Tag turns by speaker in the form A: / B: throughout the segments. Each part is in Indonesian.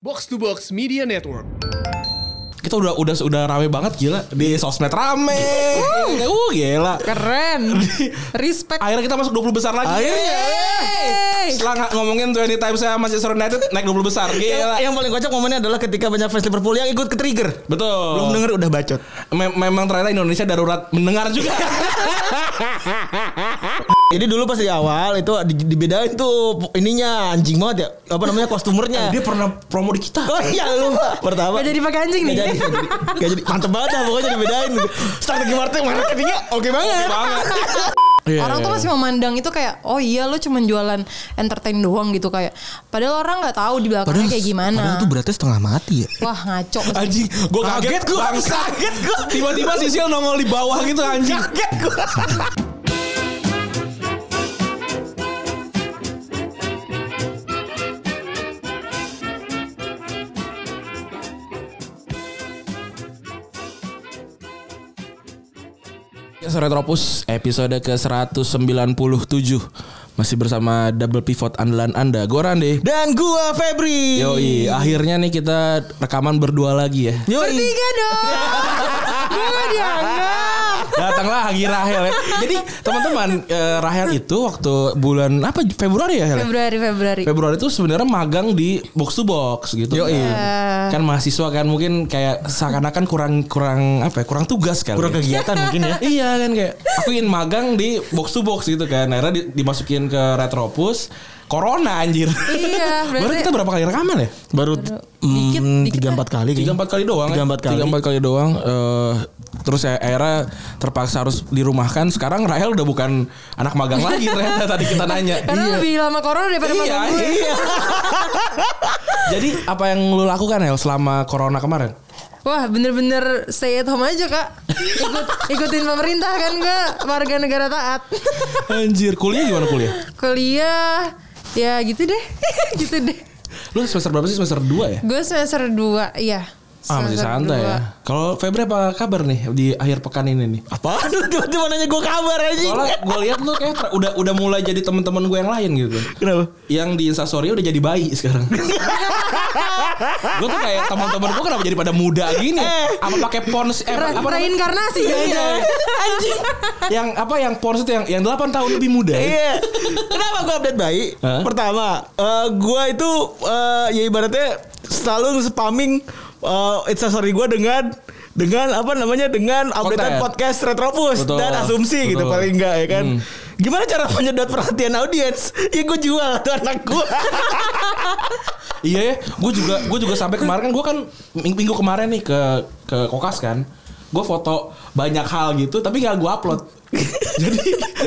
A: Box to Box Media Network.
B: kita udah udah udah rame banget gila di sosmed rame uh gila
C: Keren. Respect.
B: akhirnya kita masuk 20 besar lagi
C: Yeay.
B: setelah nggak ngomongin 20 times saya Manchester United naik 20 besar gila
D: Yang paling kocak momennya adalah ketika banyak fans Liverpool yang ikut ke trigger.
B: betul
D: Belum denger udah bacot.
B: Me- memang ternyata Indonesia darurat mendengar juga
D: Jadi dulu pas di awal itu di- dibedain tuh ininya anjing banget ya. Apa namanya kostumernya.
B: dia pernah promo di kita
D: Oh iya lupa Pertama
C: Gak jadi pakai anjing nih.
D: Gak jadi Gak jadi, Gak jadi. Mantep banget dah Pokoknya dibedain gitu. Strategi marketing marketingnya Oke banget
B: banget
C: orang tuh masih memandang itu kayak oh iya lo cuman jualan entertain doang gitu kayak padahal orang nggak tahu di belakangnya kayak gimana.
D: beratnya setengah mati ya
C: Wah ngaco.
B: anjing gue kaget,
D: Kaget gua.
B: bangsa
D: Kaget gua.
B: tiba-tiba sisil nongol di bawah gitu anjing
D: Kaget gue
B: Sore Ya, Tropus episode ke-197 Masih bersama double pivot andalan anda Gue Rande
D: Dan gua Febri
B: Yoi, akhirnya nih kita rekaman berdua lagi ya
D: Yoi
C: Bertiga dong. Dua dianggap.
B: Datanglah lagi Rahel ya. Jadi teman-teman eh, Rahel itu waktu bulan apa Februari ya Hel?
C: Februari Februari.
B: Februari itu sebenarnya magang di box to box gitu.
D: Yoi.
C: Iya.
B: Kan. kan mahasiswa kan mungkin kayak seakan-akan kurang kurang apa ya? Kurang tugas kali.
D: Kurang
B: ya.
D: kegiatan mungkin ya
B: Iya kan kayak aku ingin magang di box to box gitu kan. Akhirnya di- dimasukin ke Retropus Corona anjir.
C: Iya, berarti-
B: Baru kita berapa kali rekaman ya?
D: Baru
C: Dikit,
D: mm,
C: dikit
D: tiga
C: lah.
D: empat kali
B: tiga
D: kayaknya.
B: empat kali doang eh.
D: Tiga empat kali.
B: tiga empat kali doang eh, terus saya akhirnya terpaksa harus dirumahkan sekarang Rahel udah bukan anak magang lagi ternyata tadi kita nanya
C: Karena
D: Iya.
C: lebih lama corona daripada
B: iya
C: magang gue.
B: iya jadi apa yang lu lakukan Hel selama corona kemarin
C: Wah bener-bener stay at home aja kak Ikut, Ikutin pemerintah kan gue Warga negara taat
B: anjir kuliah gimana kuliah
C: Kuliah Ya gitu deh Gitu deh
B: lu semester berapa sih semester 2 ya
C: Gue semester 2 Iya
B: ah masih
C: semester
B: santai
C: dua.
B: ya kalau Febri apa kabar nih di akhir pekan ini nih
D: Apaan lu tiba-tiba nanya gua kabar aja
B: soalnya gue lihat lu kayak ter- udah udah mulai jadi teman-teman gue yang lain gitu
D: Kenapa?
B: yang di instastory udah jadi bayi sekarang. gue tuh kayak teman-teman gue kenapa jadi pada muda gini? ya? Apa pakai pons? Eh,
C: Re-
B: apa namanya?
C: Reinkarnasi
B: Iya, iya.
C: jangan-jangan.
D: Anjing
B: Yang apa yang pons itu yang yang 8 tahun lebih muda. ya?
D: Iya. Kenapa gue update baik?
B: Hah?
D: Pertama, eh, gua gue itu eh, ya ibaratnya selalu spamming eh instastory gue dengan dengan apa namanya dengan updatean
B: Konten.
D: podcast Retropus
B: Betul.
D: dan asumsi gitu
B: Betul.
D: paling enggak ya kan.
B: Hmm.
D: Gimana cara menyedot perhatian audiens? Ya gue jual tuh anak gue.
B: Iya ya. Gue juga gue juga sampai kemarin kan gue kan ming- minggu kemarin nih ke ke kokas kan. Gue foto banyak hal gitu tapi nggak gue upload. jadi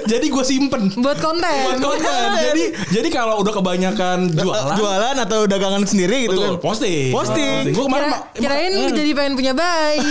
B: jadi gue simpen.
C: Buat konten
B: Buat konten. jadi jadi kalau udah kebanyakan jualan.
D: Jualan atau dagangan sendiri gitu
B: Betul,
D: kan.
B: posting. Iya.
D: Posting.
B: Gue kemarin
C: Kira-
B: ma-
C: Kirain jadi pengen punya bayi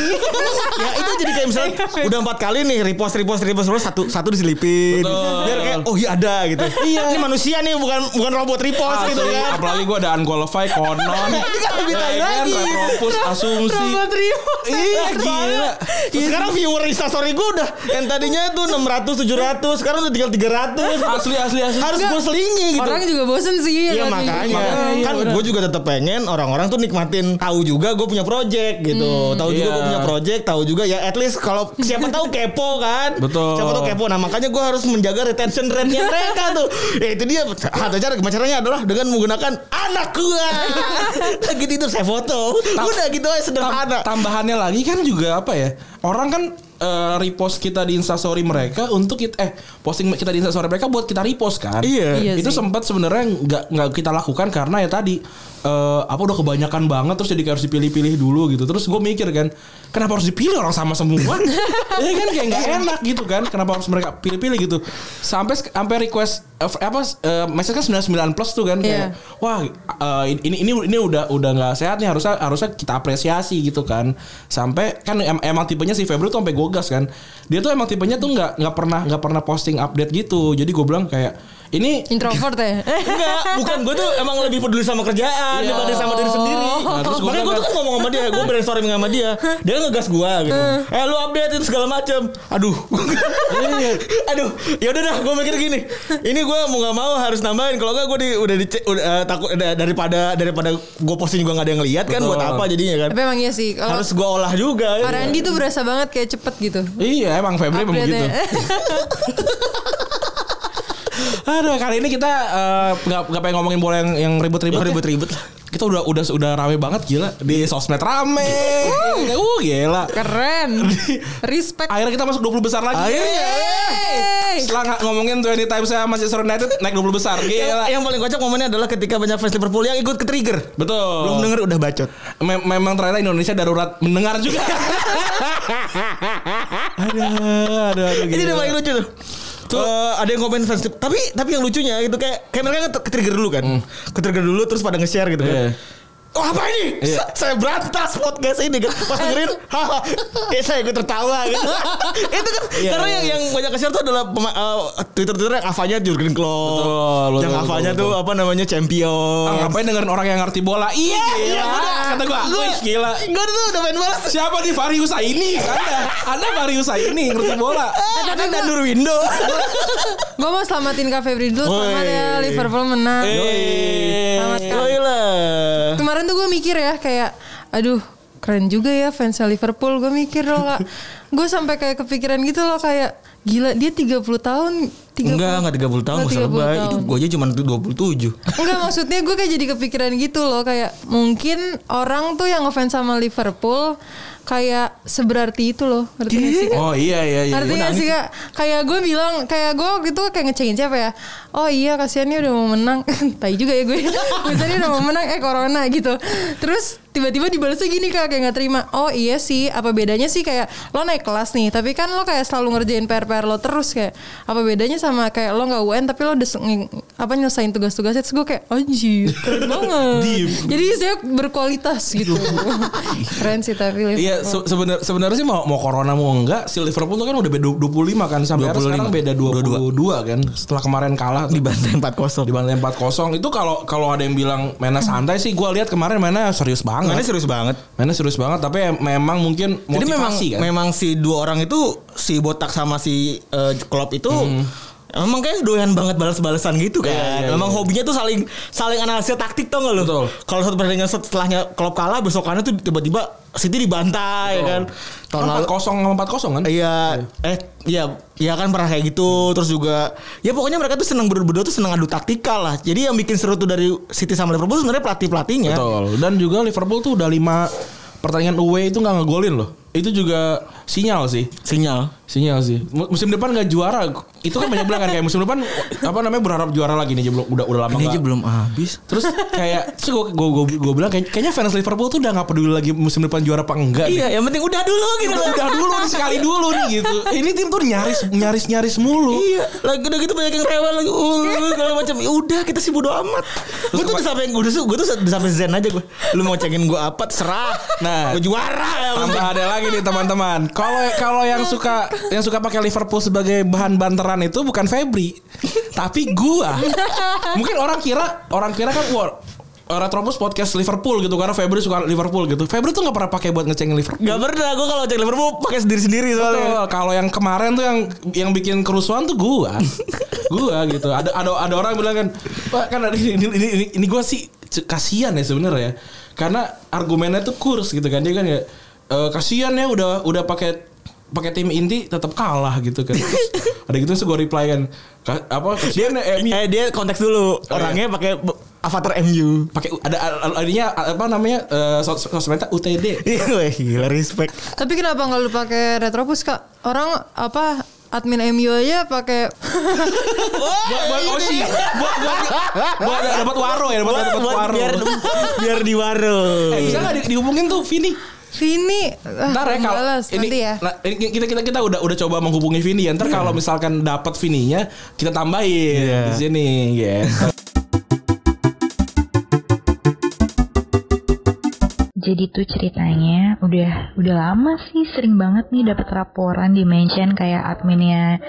D: ya itu jadi kayak misalnya udah empat kali nih repost repost repost repost satu satu diselipin
B: Betul.
D: biar kayak oh iya ada gitu iya ini manusia nih bukan bukan robot repost
B: Asli,
D: gitu kan
B: Ah, apalagi gue ada unqualified, konon,
D: Ini kan lebih tai
B: ya kan,
D: lagi.
B: retropus, asumsi.
C: Robot Rio
D: Iya
B: gila. Iya.
D: Terus sekarang viewer instastory gue udah Yang tadinya itu 600, 700 Sekarang udah tinggal 300
B: Asli, asli, asli.
D: Harus gue selingi gitu
C: Orang juga bosen sih lihat
D: Iya makanya
C: video.
B: Makanya,
D: kan
B: iya,
D: gue juga tetap pengen orang-orang tuh nikmatin tahu juga gue punya project gitu tahu juga
B: Iya.
D: gue punya project tahu juga ya at least kalau siapa tahu kepo kan
B: Betul.
D: siapa tahu kepo nah makanya gue harus menjaga retention rate nya mereka tuh ya itu dia satu cara gimana caranya adalah dengan menggunakan anak gue lagi tidur saya foto udah gitu aja
B: Tam-
D: sederhana
B: tambahannya lagi kan juga apa ya? Orang kan eh, repost kita di instastory mereka untuk kita eh posting kita di instastory mereka buat kita repost kan?
D: Iya.
C: Iya
B: itu
C: sih.
B: sempat sebenarnya nggak nggak kita lakukan karena ya tadi eh, apa udah kebanyakan banget terus jadi kayak harus dipilih-pilih dulu gitu. Terus gue mikir kan, kenapa harus dipilih orang sama semua? Ini kan kayak nggak enak gitu kan? Kenapa harus mereka pilih-pilih gitu? Sampai sampai request eh, apa eh, message kan 99 plus tuh kan kayak
C: Iya.
B: wah eh, ini ini ini udah udah nggak sehat nih harusnya harusnya kita apresiasi gitu kan sampai kan em- emang tipenya si Febri tuh sampai gogas kan dia tuh emang tipenya tuh nggak nggak pernah nggak pernah posting update gitu jadi gue bilang kayak ini
C: Introvert ya
D: Enggak, bukan gue tuh emang lebih peduli sama kerjaan
B: Iya.
D: daripada sama diri sendiri.
C: Oh.
B: Nah, terus gua
D: Makanya gue tuh kan ngomong sama dia, gue brainstorming sama dia. Dia ngegas gue gitu. Eh lu update itu segala macem. Aduh.
B: Iya.
D: Aduh. Ya udah dah, gue mikir gini. Ini gue mau nggak mau harus nambahin. Kalau nggak gue di, udah dicek, udah eh, takut udah, daripada daripada gue posting juga nggak ada yang lihat kan.
B: Betul.
D: Buat apa jadinya kan?
C: Tapi emang iya sih. Kalau
D: Harus gue olah juga. Iya.
C: Pak Randi tuh berasa banget kayak cepet gitu.
B: Iya emang family memang gitu.
C: Update-nya.
B: Aduh kali ini kita eh, nggak nggak pengen ngomongin bola yang yang ribut-ribut. ya.
D: Ribet-ribet lah.
B: Kita udah udah udah rame banget gila di sosmed rame. uh gila.
C: Keren. Respect.
B: Akhirnya kita masuk 20 besar lagi.
C: Yeay.
B: Setelah nggak ngomongin 20 times saya Manchester United naik 20 besar.
D: Yang,
B: Gila.
D: yang paling kocak momennya adalah ketika banyak fans Liverpool yang ikut ke trigger.
B: Betul.
D: Belum denger udah bacot.
B: Mem- memang ternyata Indonesia darurat mendengar juga. ada, ada, ada.
D: Ini udah paling lucu tuh. Eh, ada yang komen fans tapi tapi yang lucunya itu kayak kayak mereka ke trigger dulu kan ke trigger dulu terus pada nge-share gitu
B: Hmm. Iya.
D: kan Wah apa ini?
B: Iya.
D: Sa- Saya berantas podcast ini kan. Pas dengerin, haha, eh saya ikut tertawa gitu. itu kan
B: Iya,
D: karena
B: iya.
D: yang yang banyak share tuh adalah pema- eh, Twitter-Twitter yang avanya Jurgen Klopp.
B: Betul, betul,
D: yang
B: betul,
D: avanya
B: betul.
D: tuh apa namanya champion.
B: Ah, ngapain dengerin orang yang ngerti bola? Iya,
D: Oh. Iya,
B: gila.
D: udah.
B: Kata gua,
D: Gua-
B: "Wih, gila.
D: Gue tuh udah main balas.
B: Siapa nih Fahri Husaini? Anda, Anda Fahri Husaini ngerti bola.
D: Eh, Ada Danur Window.
C: Gue mau selamatin Kak Febri dulu. Selamat
D: Woi.
C: ya Liverpool menang. Selamat Kak.
D: Yoi lah.
C: Kemarin tuh gue mikir ya kayak aduh keren juga ya fans Liverpool gue mikir loh kak gue sampai kayak kepikiran gitu loh kayak gila dia 30 tahun 30,
D: Enggak, enggak 30 tahun, enggak
C: Enggak,
D: usah
C: 30
D: lebay.
C: Oh, tahun.
D: Itu gue aja cuma 27.
C: Enggak maksudnya gue kayak jadi kepikiran gitu loh kayak mungkin orang tuh yang ngefans sama Liverpool kayak seberarti itu loh ngerti gak sih kak?
B: Oh iya iya iya.
C: Ngerti gak sih kak? Kayak gue bilang Kayak gue waktu itu kayak ngecengin siapa ya Oh iya kasihannya udah mau menang Tai juga ya gue Misalnya udah mau menang Eh corona gitu Terus tiba-tiba dibalasnya gini kak Kayak gak terima Oh iya sih Apa bedanya sih kayak Lo naik kelas nih Tapi kan lo kayak selalu ngerjain PR-PR lo terus kayak Apa bedanya sama kayak lo gak UN Tapi lo udah se- nge- apa nyelesain tugas-tugasnya Terus gue kayak Anjir keren banget Jadi saya berkualitas gitu Keren sih tapi
B: Iya
C: Liverpool.
B: se- sebenar- sebenarnya sih mau mau corona mau enggak si Liverpool tuh kan udah beda 25 kan sampai akhirnya
D: 25.
B: sekarang beda 22, kan setelah kemarin kalah tuh.
D: Dibantai
B: di
D: 4-0.
B: Bantai 4-0 itu kalau kalau ada yang bilang mainnya
C: Hmm.
B: santai sih gua lihat kemarin mainnya serius
D: Mainnya
B: banget.
D: serius banget.
B: Mainnya serius banget tapi em- memang mungkin motivasi
D: Jadi memang
B: kan.
D: memang si dua orang itu si botak sama si eh, Klopp itu Emang kayak doyan banget balas-balasan gitu
B: Hmm.
D: kan.
B: Iya, iya,
D: Memang
B: iya.
D: hobinya tuh saling saling analisis taktik tau gak lu?
B: Betul.
D: Kalau satu pertandingan setelahnya Klopp kalah besokannya tuh tiba-tiba City dibantai kan. Tahun lalu
B: 4-0 sama 4-0 kan?
D: Iya, eh iya, iya kan pernah kayak gitu. Terus juga ya pokoknya mereka tuh seneng berdua tuh seneng adu taktikal lah. Jadi yang bikin seru tuh dari City sama Liverpool sebenarnya pelatih-pelatihnya.
B: Betul. Dan juga Liverpool tuh udah 5 pertandingan away itu nggak ngegolin loh. Itu juga sinyal sih.
D: Sinyal.
B: Sinyal sih. Mu- Musim depan nggak juara. Itu kan banyak bilang kan kayak musim depan apa namanya berharap juara lagi nih belum udah udah lama
D: Ini
B: nggak.
D: aja belum habis.
B: Terus kayak terus gue gue bilang kayak- kayaknya fans Liverpool tuh udah nggak peduli lagi musim depan juara apa enggak. deh.
D: Iya, yang penting udah dulu gitu.
B: Udah, udah dulu nih sekali dulu nih gitu. Ini tim tuh nyaris nyaris nyaris mulu.
D: Iya, lagi udah gitu banyak yang rewel lagi ulu segala macam. Ya udah, kita sih bodo amat. Gue tuh udah sampai gue tuh gue tuh udah sampai zen aja gue. Lu mau cengin gue apa terserah.
B: Nah.
D: gue juara ya.
B: Tambah ada lagi nih teman-teman. Kalau kalau yang suka yang suka pakai Liverpool sebagai bahan banteran itu bukan Febri, tapi gua. Mungkin orang kira orang kira kan wah Retrobus podcast Liverpool gitu karena Febri suka Liverpool gitu. Febri tuh nggak pernah pakai buat ngecengin Liverpool.
D: Gak pernah gue kalau cek Liverpool pakai sendiri-sendiri soalnya.
B: Betul. Kalau yang kemarin tuh yang yang bikin kerusuhan tuh gua. gua gitu. Ada ada ada orang bilang kan, "Pak, kan ada ini ini ini, ini gua sih c- kasihan ya sebenarnya ya. Karena argumennya tuh kurs gitu kan. Dia kan ya "Eh, kasihan ya udah udah pakai pakai tim inti tetap kalah gitu kan. Terus ada gitu sih gua reply kan. "Ka- apa ya, dia
D: Eh dia konteks dulu.
B: iya.
D: Orangnya pakai bu- avatar MU.
B: pakai ada ada- adanya apa namanya eh, sos- sosmednya UTD.
D: Iya, weh, gila respect.
C: Tapi kenapa nggak lu pakai Retropus kak? Orang apa admin MU aja pakai
B: Buat buat Oshi, buat buat buat dapat waro ya, dapat dapat
D: Buat
B: waro.
D: biar biar di warung.
B: Eh, bisa nggak di- dihubungin tuh Vini?
C: Vini. Ah,
B: Ntar ya kalau
C: males,
B: ini,
C: nanti ya.
B: nah, ini kita kita kita udah udah coba menghubungi Vini ya. Ntar kalau misalkan dapat Vininya kita tambahin
D: Iya.
B: di sini ya.
E: Jadi tuh ceritanya udah udah lama sih sering banget nih dapat laporan di mention kayak adminnya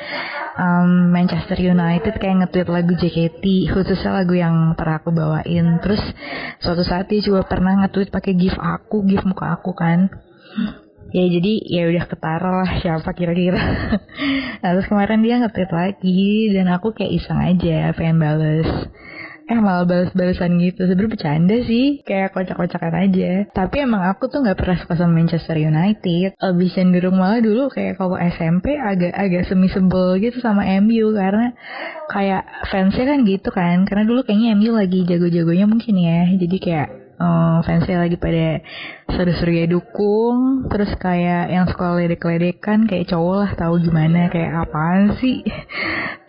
E: um, Manchester United kayak nge-tweet lagu JKT khususnya lagu yang pernah aku bawain terus suatu saat dia juga pernah nge-tweet pakai gif aku gif muka aku kan ya jadi ya udah ketara lah siapa kira-kira nah, terus kemarin dia nge-tweet lagi dan aku kayak iseng aja pengen bales eh malah balas-balasan gitu sebenernya bercanda sih kayak kocak-kocakan aja tapi emang aku tuh nggak pernah suka sama Manchester United lebih cenderung malah dulu kayak kalau SMP agak-agak semi sebel gitu sama MU karena kayak fansnya kan gitu kan karena dulu kayaknya MU lagi jago-jagonya mungkin ya jadi kayak eh, fansnya lagi pada seru-seru ya dukung terus kayak yang suka ledek-ledekan kayak cowok lah tahu gimana kayak apaan sih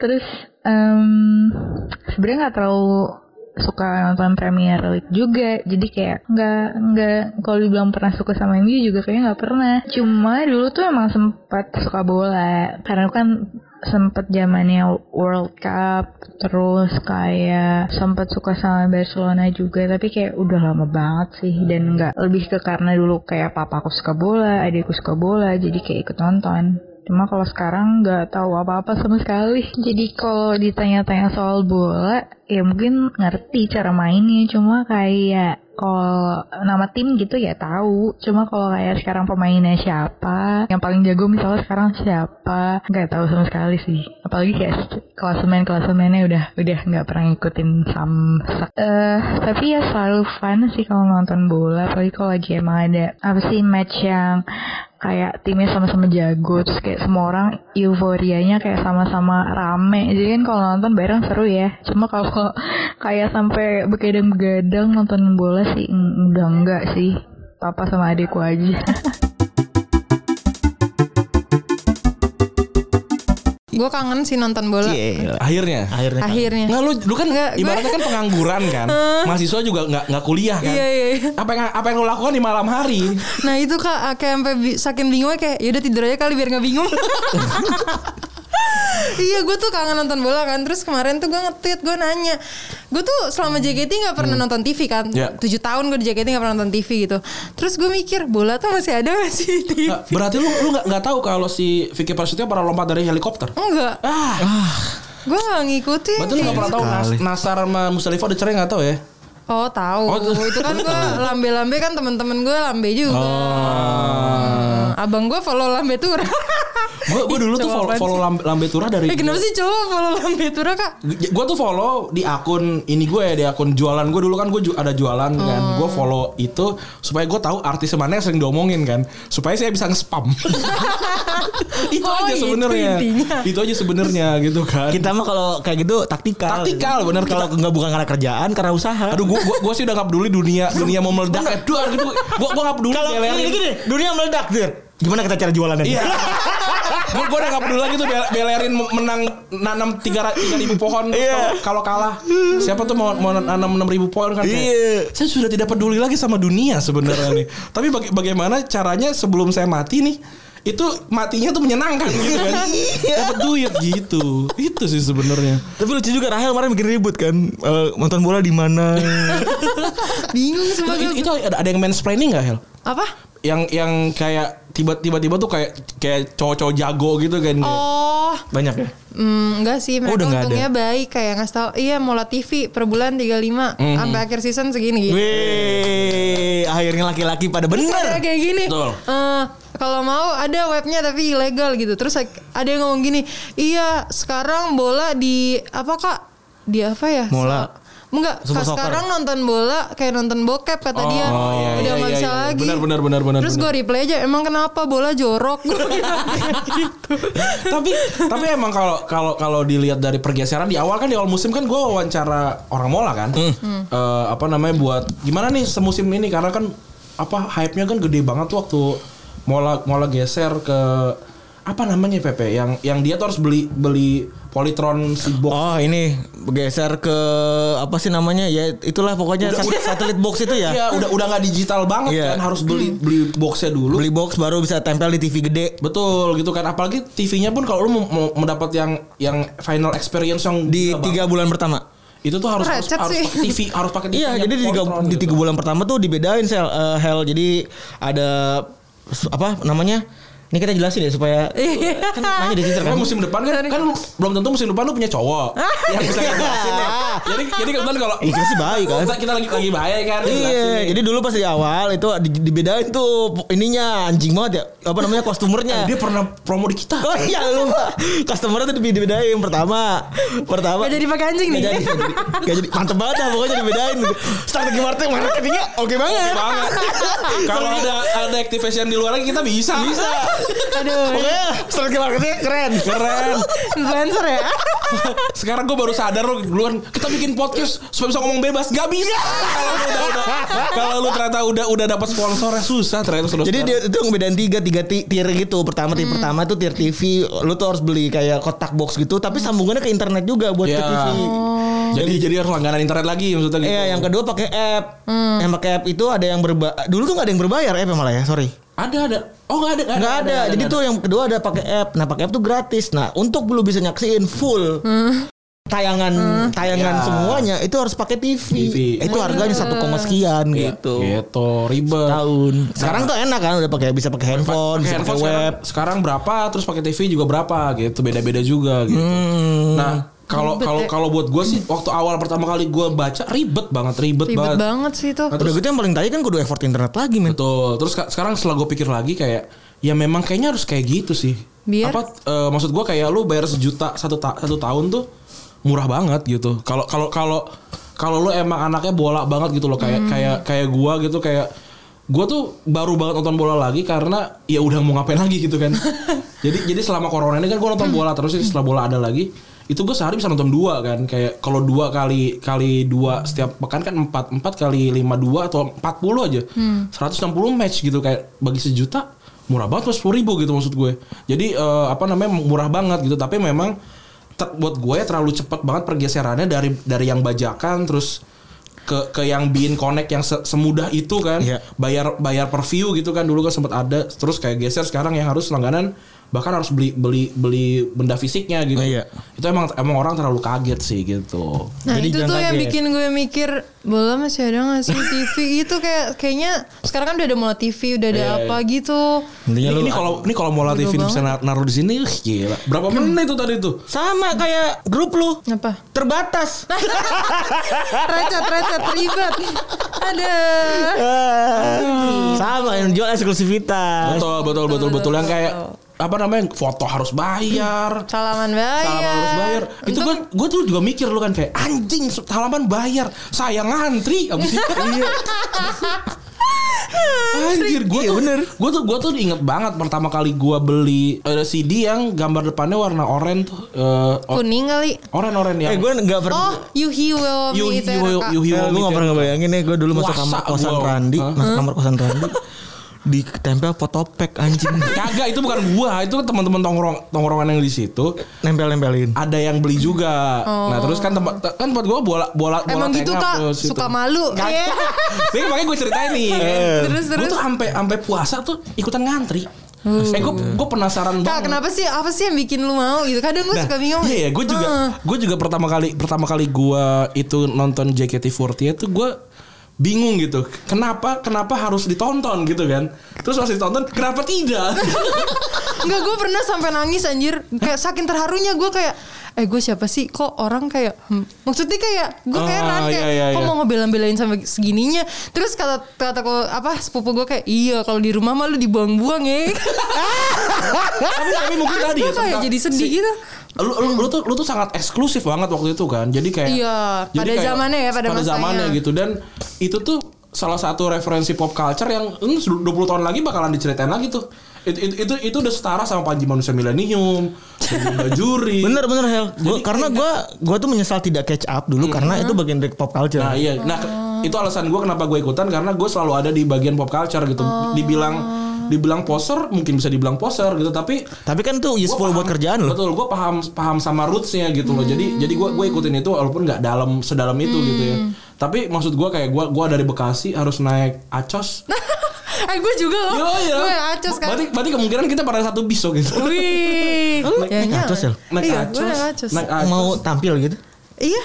E: terus em, sebenarnya nggak terlalu suka nonton Premier League juga jadi kayak nggak nggak kalau dibilang pernah suka sama MU juga kayaknya nggak pernah cuma dulu tuh emang sempat suka bola karena aku kan sempet zamannya World Cup terus kayak sempat suka sama Barcelona juga tapi kayak udah lama banget sih dan nggak lebih ke karena dulu kayak papa aku suka bola adikku suka bola jadi kayak ikut nonton Cuma kalau sekarang nggak tahu apa-apa sama sekali. Jadi kalau ditanya-tanya soal bola, ya mungkin ngerti cara mainnya. Cuma kayak kalau nama tim gitu ya tahu. Cuma kalau kayak sekarang pemainnya siapa, yang paling jago misalnya sekarang siapa, nggak tahu sama sekali sih. Apalagi kayak klasemen klasemennya udah udah nggak pernah ngikutin samsak. Eh tapi ya selalu fun sih kalau nonton bola. Apalagi kalau lagi emang ada apa sih match yang kayak timnya sama-sama jago terus kayak semua orang euforianya kayak sama-sama rame jadi kan kalau nonton bareng seru ya cuma kalau kayak sampai begadang-begadang nonton bola sih mm, udah enggak sih papa sama adikku aja
C: Gue kangen sih nonton bola.
D: Gila.
B: Akhirnya.
D: Iya. Akhirnya kan.
C: Akhirnya.
B: Nggak lu, lu kan
C: Nggak, gua-
B: ibaratnya kan pengangguran kan, mahasiswa juga nggak nggak kuliah kan.
C: Iya, iya, iya.
B: Apa yang apa yang lu lakukan di malam hari?
C: Nah itu kak kayak sampai bi- saking bingungnya kayak yaudah tidur aja kali biar nggak bingung. iya gue tuh kangen nonton bola kan Terus kemarin tuh gue nge-tweet Gue nanya Gue tuh selama JKT gak pernah nonton TV kan
B: Iya.
C: tujuh 7 tahun gue di JKT gak pernah nonton TV gitu Terus gue mikir Bola tuh masih ada gak sih di TV?
B: Nggak, berarti lu lu nggak nggak tahu kalau si Vicky Prasetyo pernah lompat dari helikopter?
C: Enggak
B: Ah,
C: Gue gak ngikutin
B: berarti lu nggak pernah tahu Nas, Nasar sama Musdalifah udah cerai nggak tahu ya?
C: Oh tahu
B: Oh, tuh.
C: Itu kan gue lambe-lambe kan temen-temen gue lambe juga Hmm, Abang gue follow lambe tuh
B: Gue gue Oh. dulu tuh
C: Cowok
B: follow,
C: apaan
B: follow Lam- Lambe Tura dari.
C: Eh kenapa sih cowok follow lambe tuh kak?
B: Gue tuh follow di akun ini gue ya di akun jualan gue dulu kan gue ju- ada jualan kan gue follow itu supaya gue tahu artis mana yang sering diomongin kan supaya saya bisa nge-spam itu
C: Oh,
B: aja
C: itu
B: sebenarnya
C: intinya.
B: itu aja sebenarnya gitu kan
D: Kita mah kalau kayak gitu taktikal.
B: Taktikal, bener.
D: Kalau nggak bukan karena kerjaan, karena usaha.
B: aduh gue gue sih udah nggak peduli dunia dunia mau meledak ya duar gitu gue gue nggak peduli
D: kalau
B: belain.
D: gini, gini, dunia meledak, Dir. Gimana kita cara jualannya?
B: Iya. gue gue udah gak peduli lagi tuh bel- belerin menang nanam tiga tiga ribu pohon Terus
D: Iya.
B: kalau kalau kalah siapa tuh mau mau nanam enam ribu pohon kan kayak,
D: Iya.
B: saya sudah tidak peduli lagi sama dunia sebenarnya nih tapi baga- bagaimana caranya sebelum saya mati nih itu matinya tuh menyenangkan gitu kan dapat duit gitu itu sih sebenarnya
D: Tapi lucu juga Rahel kemarin bikin ribut kan. Eh, nonton bola di mana?
C: Bingung semua
B: Eh, itu,
C: gue
B: itu ada, ada yang mansplaining gak Hel
C: Apa?
B: yang yang kayak tiba- tiba-tiba tuh kayak kayak cowok-cowok jago gitu kan
C: Oh,
D: Banyak ya?
C: Hmm, enggak
B: Oh,
C: sih mereka
D: udah enggak ada.
C: untungnya baik kayak ngasih tahu iya Mola TV per bulan 35
B: Mm-hmm.
C: sampai akhir season segini gitu.
D: Wih, akhirnya laki-laki pada
C: Terus ada
D: bener.
C: kayak gini.
B: Iya. Betul.
C: eh, kalau mau ada webnya tapi ilegal gitu. Terus ada yang ngomong gini, "Iya, sekarang bola di apa Kak? Di apa ya?"
D: Mola.
C: So- enggak,
D: Super
C: Kak,
D: soccer.
C: sekarang nonton bola kayak nonton bokep kata dia.
B: iya,
C: Udah
B: iya,
C: nggak
B: iya,
C: bisa
B: iya.
C: lagi.
B: Benar, benar, benar, benar,
C: Terus gue replay aja, "Emang kenapa bola jorok?" Gua bilang kayak gitu.
B: tapi tapi emang kalau kalau kalau dilihat dari pergeseran di awal kan di awal musim kan gue wawancara orang mola kan
D: Hmm.
B: Eh, apa namanya buat gimana nih semusim ini karena kan apa hype-nya kan gede banget tuh waktu mola mola geser ke apa namanya PP yang yang dia tuh harus beli beli politron si box
D: Oh ini bergeser ke apa sih namanya ya itulah pokoknya
B: Udah,
D: sat-
B: udah.
D: satelit box itu ya
B: ya udah udah nggak digital banget
D: Iya.
B: kan harus beli beli boxnya dulu
D: beli box baru bisa tempel di TV gede
B: betul gitu kan apalagi TV-nya pun kalau lu mau, mau mendapat yang yang final experience yang
D: di
B: gila banget.
D: tiga bulan pertama.
B: itu tuh harus harus,
C: Recet
B: harus
C: sih.
B: pakai TV harus pakai TV
D: Iya,
B: yang
D: jadi di tiga,
B: Voltron
D: di
B: gitu.
D: tiga bulan pertama tuh dibedain sel eh, hell jadi ada s- apa namanya Ini kita jelasin ya supaya
C: Iya.
D: kan nanya di Twitter kan.
B: Emang musim depan kan, kan lu- belum tentu musim depan lu punya cowok yang bisa ngejelasin ya. Jadi jadi kebetulan kalau
D: Iya sih baik kan.
B: kita, kita lagi lagi bahaya kan. ngejelasin nih.
D: Iya, jadi dulu pas di awal itu di- dibedain tuh ininya anjing banget ya. Apa namanya kostumernya.
B: dia pernah promo di kita.
D: Oh iya lupa. Customer tuh dibedain pertama. Pertama.
C: Gak jadi pakai anjing nih.
D: Gak jadi, gak jadi, gak jadi. Mantep banget dah pokoknya dibedain. Strategi marketing marketingnya oke banget.
B: banget. Kalau ada ada activation di luar lagi kita bisa. Bisa.
C: Aduh,
D: Pokoknya strategi marketingnya keren.
B: Keren.
C: influencer ya.
B: Sekarang gue baru sadar lo dulu kan kita bikin podcast supaya bisa ngomong bebas. Gak bisa. Kalau lu udah- udah- Kalau lu ternyata udah udah dapat sponsornya susah ternyata sudah.
D: Jadi dia itu ngebedain tiga tiga ti- tier gitu. Pertama tier pertama tuh tier TV. Lu tuh harus beli kayak kotak box gitu. Tapi sambungannya ke internet juga buat
B: ya.
D: ke Oh, TV.
B: Jadi jadi harus langganan internet lagi maksudnya gitu.
D: Iya, yang kedua pakai app. Yang pakai app itu ada yang berba dulu tuh nggak ada yang berbayar app malah ya, sorry.
B: Ada ada. Oh nggak ada
D: Nggak ada. Jadi tuh yang kedua ada pakai app. Nah, pakai app tuh gratis. Nah, untuk lu bisa nyaksiin full tayangan tayangan
B: Iya.
D: semuanya itu harus pakai TV.
B: TV.
D: Itu harganya satu koma sekian gitu.
B: Gitu ribet.
D: Tahun. Sekarang tuh enak kan udah pakai bisa pakai
B: Pakai
D: handphone, bisa pakai
B: handphone
D: web.
B: sekarang, sekarang berapa terus pakai TV juga berapa gitu beda-beda juga gitu.
D: Hmm.
B: Nah kalau kalau kalau buat gue sih waktu awal pertama kali gue baca ribet banget ribet,
C: Ribet
B: banget.
C: banget sih itu.
B: Nah,
D: Udah gitu yang paling tadi kan kudu effort internet lagi men.
B: Betul. Terus ka- sekarang setelah gue pikir lagi kayak ya memang kayaknya harus kayak gitu sih.
C: Biar-
B: Apa eh, maksud gue kayak lu bayar sejuta satu ta- satu tahun tuh murah banget gitu. Kalau kalau kalau kalau lu emang anaknya bola banget gitu loh kayak kayak kayak gue gitu kayak gue tuh baru banget nonton bola lagi karena ya udah mau ngapain lagi gitu kan. jadi jadi selama corona ini kan gue nonton bola terus setelah bola ada lagi itu gue sehari bisa nonton dua kan kayak kalau dua kali kali dua setiap pekan kan empat empat kali lima dua atau empat puluh aja 160 match gitu kayak bagi sejuta murah banget mas sepuluh ribu gitu maksud gue jadi eh, apa namanya murah banget gitu tapi memang ter- buat gue terlalu cepat banget pergeserannya dari dari yang bajakan terus ke ke yang bikin connect yang se- semudah itu kan
D: Iya.
B: bayar bayar per view gitu kan dulu kan sempat ada terus kayak geser sekarang yang harus langganan bahkan harus beli beli beli benda fisiknya gitu
D: Iya.
B: itu emang emang orang terlalu kaget sih gitu
C: Nah
D: Jadi
C: itu
D: jangan
C: tuh yang
D: kaget.
C: bikin gue mikir bola masih ada gak sih TV itu kayak kayaknya sekarang kan udah ada mulai TV udah ada
B: Iya,
C: apa gitu
D: Intinya
B: ini
D: lu
B: ini kalau ini kalau mau latih film bisa nar- naruh di sini ih, gila berapa menit itu tadi tuh
D: sama kayak grup lu
C: apa
D: terbatas.
C: recet recet ribet ada
B: Ah.
D: sama yang jual eksklusivitas.
B: betul betul betul betul yang kayak apa namanya foto harus bayar
C: salaman bayar
B: Salaman harus bayar. Itu gue gue tuh juga mikir lu kan kayak anjing salaman bayar. Saya ngantri abis itu. iya. Anjir gue tuh bener Gue tuh gue tuh inget banget pertama kali gue beli eh, CD yang gambar depannya warna oranye tuh eh, o-
C: kuning kali
B: oranye oranye yang
D: Eh gue nggak pernah.
C: oh gitu ya, Yuhi will
B: you you
C: me
B: you,
C: Teraka.
B: you, you,
D: gue gak pernah ngebayangin ya Gue dulu masuk
B: Puasa
D: kamar kosan
B: gua.
D: Randi
B: Hah?
D: Masuk kamar kosan Randi Ditempel fotopek anjing
B: Kagak itu bukan gua, itu kan teman-teman tongkrong tongkrongan yang di situ
D: Nempel-nempelin
B: ada yang beli juga. Nah, terus kan tempat kan buat gua bola bola bola
C: emang gitu
B: tengah
C: kak
B: terus itu.
C: suka malu Iya.
B: Ini makanya gue ceritain nih.
C: Terus,
B: Gue
C: terus. Hmm.
B: tuh sampai sampai puasa tuh ikutan ngantri. Eh gue gue penasaran
C: kak
B: banget.
C: kenapa sih apa sih yang bikin lu mau gitu kadang gue suka bingung Hmm.
B: Iya ya, gue juga
C: Heeh.
B: gue juga pertama kali pertama kali gue itu nonton JKT48 tuh gue bingung gitu. Kenapa kenapa harus ditonton gitu kan? Terus pas ditonton kenapa tidak?
C: Enggak gue pernah sampai nangis anjir Kayak saking terharunya gue kayak Eh gue siapa sih kok orang kayak hmm. Maksudnya kayak gue
B: Ah,
C: heran kayak
B: iya, iya,
C: Kok
B: iya.
C: mau ngebela-belain sampai segininya Terus kata kata ko- apa sepupu gue kayak Iya kalau di rumah mah lu dibuang-buang ya
B: tapi tapi mungkin tadi ya,
C: Gue kayak
B: tentang
C: jadi sedih gitu
B: lu, lu, lu tuh lu tuh sangat eksklusif banget waktu itu kan jadi kayak
C: Iya, pada zamannya ya, pada masanya.
B: zamannya gitu dan itu tuh salah satu referensi pop culture yang hmm, 20 tahun lagi bakalan diceritain lagi tuh itu itu itu, itu udah setara sama Panji Manusia Milenium Sejumlah juri
D: Bener bener Hel gua,
B: eh,
D: Karena gue gua tuh menyesal tidak catch up dulu Karena itu bagian dari pop culture
B: Iya. Nah iya, nah
C: Oh.
B: itu alasan gue kenapa gue ikutan karena gue selalu ada di bagian pop culture gitu. Dibilang dibilang poser mungkin bisa dibilang poser gitu tapi
D: Tapi kan tuh
B: Gua
D: useful
B: paham.
D: buat kerjaan loh
B: Betul, gue paham paham sama rootsnya gitu loh. Jadi jadi gue gue ikutin itu walaupun nggak dalam sedalam itu gitu ya. Tapi maksud gue kayak gue gue dari Bekasi harus naik acos.
C: Eh gue juga loh
B: Yo, yo.
C: Gue acos kan
B: Berarti berarti kemungkinan kita pada satu bis gitu.
C: Wih
D: naik
C: Ya,
D: acos ya?
C: iya,
B: Naik
C: gue
B: acos,
C: naik acos
B: naik acos.
D: Mau tampil gitu
C: Iya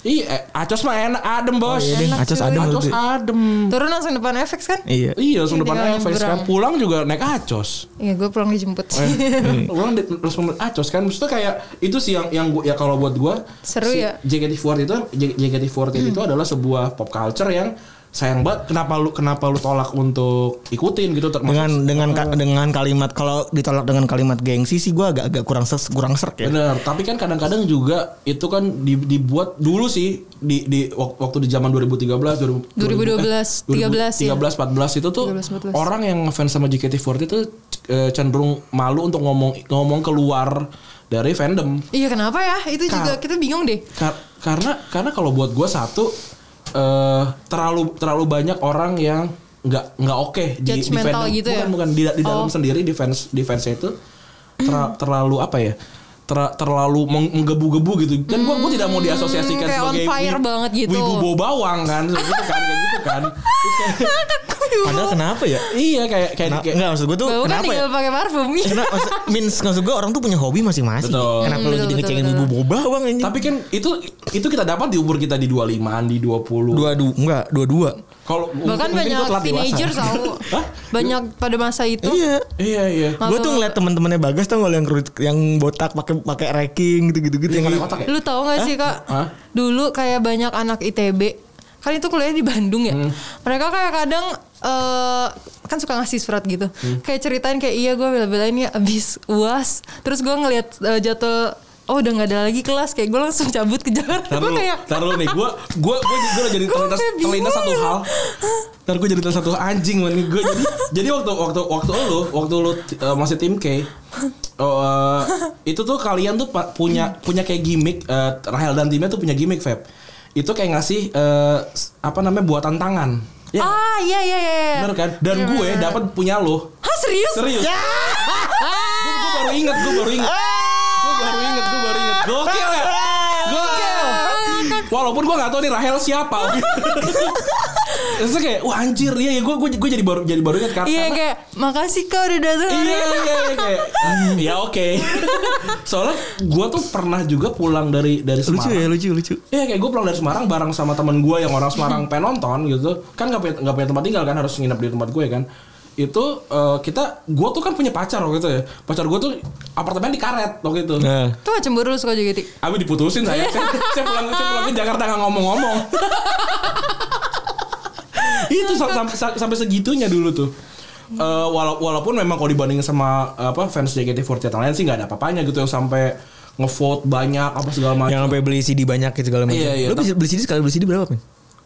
B: Ih, eh, acos mah enak adem bos.
C: iya deh, Enak acos cuy. adem
B: Acos
D: berarti.
B: adem.
C: Turun langsung depan FX kan?
D: Iya.
B: Iya, langsung
C: Iya,
B: depan
C: tinggal
B: FX kan.
C: nyebrang.
B: Pulang juga naik acos.
C: Iya gue pulang dijemput
B: Oh, Orang di- terus ngomong acos kan maksudnya kayak itu sih yang yang gua, ya kalau buat gua
C: Seru
B: si
C: ya? Hmm.
B: JKT48 itu J- JKT48 itu adalah sebuah pop culture yang sayang banget kenapa lu kenapa lu tolak untuk ikutin gitu termasuk
D: Dengan dengan ka- dengan kalimat kalau ditolak dengan kalimat gengsi sih gue agak agak kurang ses, kurang serk ya.
B: Bener, tapi kan kadang-kadang juga itu kan di- dibuat dulu sih di di wak- waktu di zaman 2013 2000, eh,
C: 2012,
B: 2013
C: 13 ya.
B: 14 itu tuh
C: 13, 14.
B: orang yang fans sama JKT48 itu eh, cenderung malu untuk ngomong ngomong keluar dari fandom.
C: Iya kenapa ya? Itu
B: Kak.
C: juga kita bingung deh.
B: Kar- karena karena kalau buat gue satu eh terlalu terlalu banyak orang yang nggak nggak oke di, di
C: Judgmental
B: fandom.
C: gitu ya?
B: bukan bukan di, di dalam
C: Oh.
B: sendiri di fans di fansnya itu ter- terlalu apa ya Ter- terlalu meng- menggebu-gebu gitu dan gue gue tidak mau diasosiasikan
C: Hmm, kayak on
B: sebagai
C: fire
B: wi-
C: banget gitu.
B: wibu bawa bawang kan gitu kan kayak gitu kan Terus kayak-
D: Padahal kenapa ya?
B: iya kayak kayak,
D: Nah,
B: kayak-
D: enggak maksud gue tuh
C: Bau kan
D: kenapa ya?
C: tinggal pakai parfum.
D: Kena, maksud, means maksud gue orang tuh punya hobi masing-masing.
B: Betul.
C: Hmm,
D: Kenapa lu
C: betul,
D: jadi
C: betul,
D: ngecengin
C: betul.
D: ibu boba bang anjing?
B: tapi kan itu itu kita dapat di umur kita di 25an di 20
D: dua dua enggak dua dua.
B: kalau
C: Bahkan
B: mungkin
C: banyak
B: gua telat dewasa.
C: teenager tahu.
B: Hah?
C: banyak pada masa itu.
D: Iya.
B: iya iya
D: Gue tuh ngeliat teman-temannya Bagas tuh yang kerut- yang botak pakai pakai racking gitu-gitu gitu.
B: Yang
D: Yang
B: kotak ya?
C: Lu tahu nggak sih kak?
B: Hah?
C: Dulu kayak banyak anak ITB. Kan itu kuliah di Bandung ya.
B: Hmm.
C: Mereka kayak kadang eh kan suka ngasih surat gitu.
B: Hmm.
C: Kayak ceritain kayak iya gue bela-belain ya abis uas. Terus gue ngeliat eh, jatuh. Oh udah nggak ada lagi kelas. Kayak gue langsung cabut ke Jakarta.
B: Ntar
C: Gue
B: dulu,
C: kayak
B: ntar dulu nih, gue gue gue gue jadi
C: Gua
B: terlintas
C: kayak
B: terlintas satu
C: bingung.
B: hal. Ntar gue jadi terlintas satu hal. anjing man. Gue jadi jadi waktu waktu waktu lu waktu lu eh, masih tim K, oh, eh, itu tuh kalian tuh pa- punya punya kayak gimmick eh, Rahel dan timnya tuh punya gimmick Feb. Itu kayak ngasih eh, s- apa namanya buatan tangan. Ya,
C: ah iya iya iya. iya.
B: bener kan? Dan gue dapat punya lo.
C: Hah serius? Ah.
B: Serius.
C: Ya.
B: Gue baru inget, gue baru inget. Gue baru inget, gue baru inget. Gokil ya. Gokil. Walaupun gue gak tau nih Rahel siapa. Terus kayak wah anjir iya ya gue gue gue jadi baru jadi baru inget karena
C: Iya kayak makasih kau udah datang.
B: Iya iya iya kayak "Hmm, ya oke. Soalnya gue tuh pernah juga pulang dari dari Semarang.
D: lucu ya lucu lucu.
B: Iya kayak gue pulang dari Semarang bareng sama temen gue yang orang Semarang pengen nonton gitu kan nggak punya nggak punya tempat tinggal kan harus nginep di tempat gue kan itu eh, kita gue tuh kan punya pacar waktu itu ya pacar gue tuh apartemen di karet waktu itu
D: Nah.
C: Tuh cemburu lu suka JKT.
B: Abi diputusin saya. saya, saya pulang saya pulang ke Jakarta nggak ngomong-ngomong. itu sam- sam- sam- sampai segitunya dulu tuh. Eh, wala- walaupun memang kalau dibandingin sama eh, apa fans JKT48 lain sih nggak ada apa-apanya gitu yang sampai ngevote banyak apa segala macam.
D: Yang sampai beli CD banyak gitu segala macam.
B: Iya, iya.
D: Lu bisa beli CD sekali beli CD berapa, Min?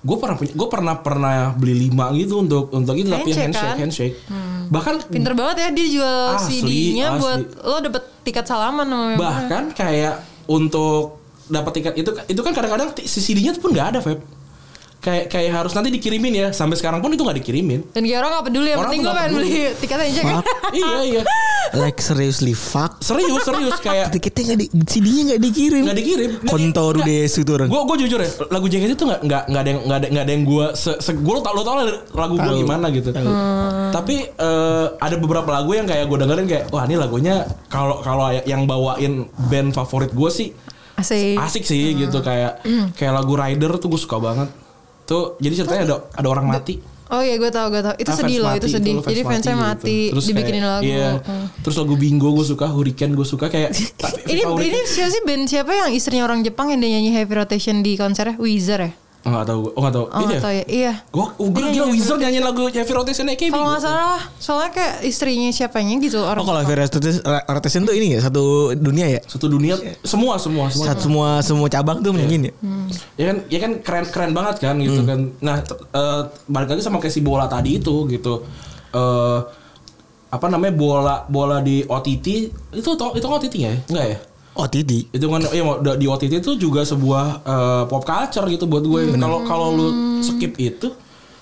B: Gue pernah punya, gue pernah pernah beli lima gitu untuk untuk itu tapi
C: Handshake,
B: handshake handshake.
C: kan?
B: Bahkan
C: Pinter banget ya dia jual
B: Asli,
C: CD-nya
B: asli.
C: buat lo dapet tiket salaman sama member.
B: bahkan kayak untuk dapat tiket itu itu kan kadang-kadang ti- CD-nya pun nggak ada, Feb. Kayak kayak harus nanti dikirimin ya. Sampai sekarang pun itu nggak dikirimin.
C: Dan kayak orang gak peduli yang
B: Orang
C: penting
B: tuh
C: gue
B: nggak
C: pengen beli tiket aja kan.
D: Fuck.
B: iya iya
D: Like seriously fuck.
B: serius serius kayak
D: Tiketnya nggak di CD-nya nggak dikirim.
B: nggak dikirim
D: Kontor desu tuh orang.
B: gue gue jujur ya lagu JKT itu nggak nggak nggak ada yang nggak ada nggak ada yang gue se, se gue lo tau lo tau lah lagu gue
D: Tahu.
B: gimana gitu tapi eh, ada beberapa lagu yang kayak gue dengerin kayak wah ini lagunya kalau kalau yang bawain band favorit gue sih
C: Asik.
B: asik
C: Hmm.
B: sih gitu kayak kayak lagu Rider tuh gue suka banget tuh jadi ceritanya ada ada orang mati
C: Oh iya gue tau gue tau. Itu
B: Ah, fans
C: sedih loh itu
B: mati,
C: sedih.
B: lo
C: Jadi fansnya
B: gitu.
C: mati.
B: Terus
C: dibikinin
B: kayak-
C: lagu.
B: iya.
C: Hmm.
B: terus lagu bingo gue suka hurricane gue suka kayak tapi
C: Ini
B: Viva
C: ini
B: Hurricane-
C: siapa sih band siapa yang istrinya orang Jepang yang dia nyanyi Heavy Rotation di konsernya Weezer ya?
B: Enggak tahu gue. Oh, enggak tahu.
C: Oh
B: Ini
C: nggak
B: ya?
C: tau ya. Iya.
B: Gua oh, gila, gila Wizard nyanyiin lagu Heavy Rotation AKB.
C: Kalau
B: Gua-
C: nggak salah soalnya kayak istrinya siapanya gitu orang.
D: Oh kalau Vera Artesian tuh ini ya satu dunia ya.
B: Satu dunia
C: Iya.
B: semua semua semua. Iya.
D: Satu semua semua cabang tuh mungkin ya.
C: Hmm.
B: Ya kan ya kan keren keren banget kan gitu kan. Nah, t- eh, balik lagi sama kayak si bola tadi itu gitu. Eh apa namanya bola bola di OTT itu to- itu kan OTT ya? Enggak ya?
D: Oh Titi.
B: itu kan ya mau- di OTT itu juga sebuah eh, pop culture gitu buat
C: Hmm.
B: gue kalau kalau lu skip itu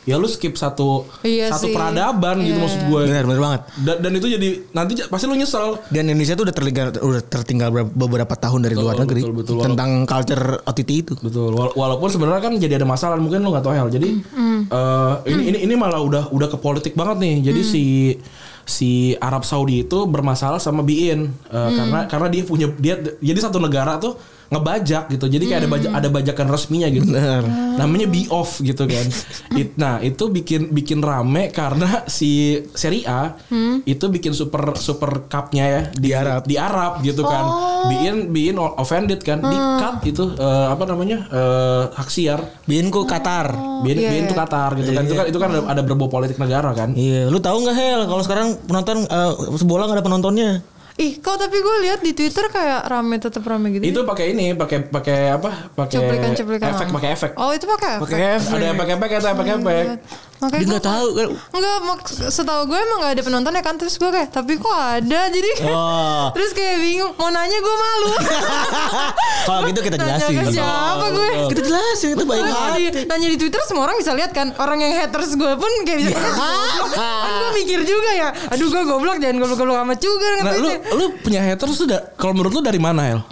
B: ya lu skip satu
C: Iya
B: satu
C: sih. Iya.
B: peradaban gitu maksud gue
D: Benar benar banget.
B: dan, dan itu jadi nanti j- pasti lu nyesel
D: Dan Indonesia tuh udah tertinggal udah tertinggal ber- beberapa tahun dari luar negeri
B: betul, betul.
D: tentang culture OTT itu.
B: betul Wala- walaupun sebenarnya kan jadi ada masalah mungkin lu nggak tahu hal jadi eh, ini ini ini malah udah udah ke politik banget nih jadi si si Arab Saudi itu bermasalah sama BIN eh, karena karena dia punya dia jadi satu negara tuh ngebajak gitu. Jadi kayak ada baja- ada bajakan resminya gitu.
D: Bener.
C: Eh.
B: Namanya be off gitu kan. It- nah, itu bikin bikin rame karena si Serie A
C: Hmm.
B: itu bikin super super cupnya ya di,
D: Arab.
B: di Arab gitu kan.
C: Oh.
B: Bikin bikin offended kan. Di
C: Hmm.
B: cut itu eh, apa namanya? eh, hak siar.
D: Binku Qatar.
B: Biarin
C: iya,
B: biarin
C: iya.
B: tuh Qatar gitu kan. Itu kan itu kan ada, ada berbau politik negara kan.
D: Iya, lu tahu nggak Hel kalau sekarang penonton eh, bola nggak ada penontonnya.
C: Ih, kok tapi gue lihat di Twitter kayak rame tetap rame gitu.
B: Itu pakai ini, pakai pakai apa? Pakai
C: cuplikan-cuplikan.
B: efek,
C: lama.
B: pakai efek.
C: Oh, itu pakai efek. Iya.
B: Ada yang pakai efek, ada yang pakai efek.
C: Makanya
D: Dia
C: gua-
D: nggak tahu.
C: Enggak, mak- setahu gue emang gak ada penonton ya kan terus gue kayak tapi kok ada jadi kayak-
B: Oh.
D: Wah.
C: terus kayak bingung mau nanya gue malu.
D: Kalau gitu kita
C: Nanya
D: jelasin.
C: ke siapa gue?
D: Kita jelasin itu baik
C: Nanya
D: hati.
C: di- nanya di Twitter semua orang bisa lihat kan orang yang haters gue pun
B: Iya.
C: kayak bisa kan gue mikir juga ya aduh gue goblok jangan goblok-goblok amat juga Ya
B: Nah, lu
C: ngetweetnya.
B: lu punya haters tuh da- kalau menurut lu dari mana, El?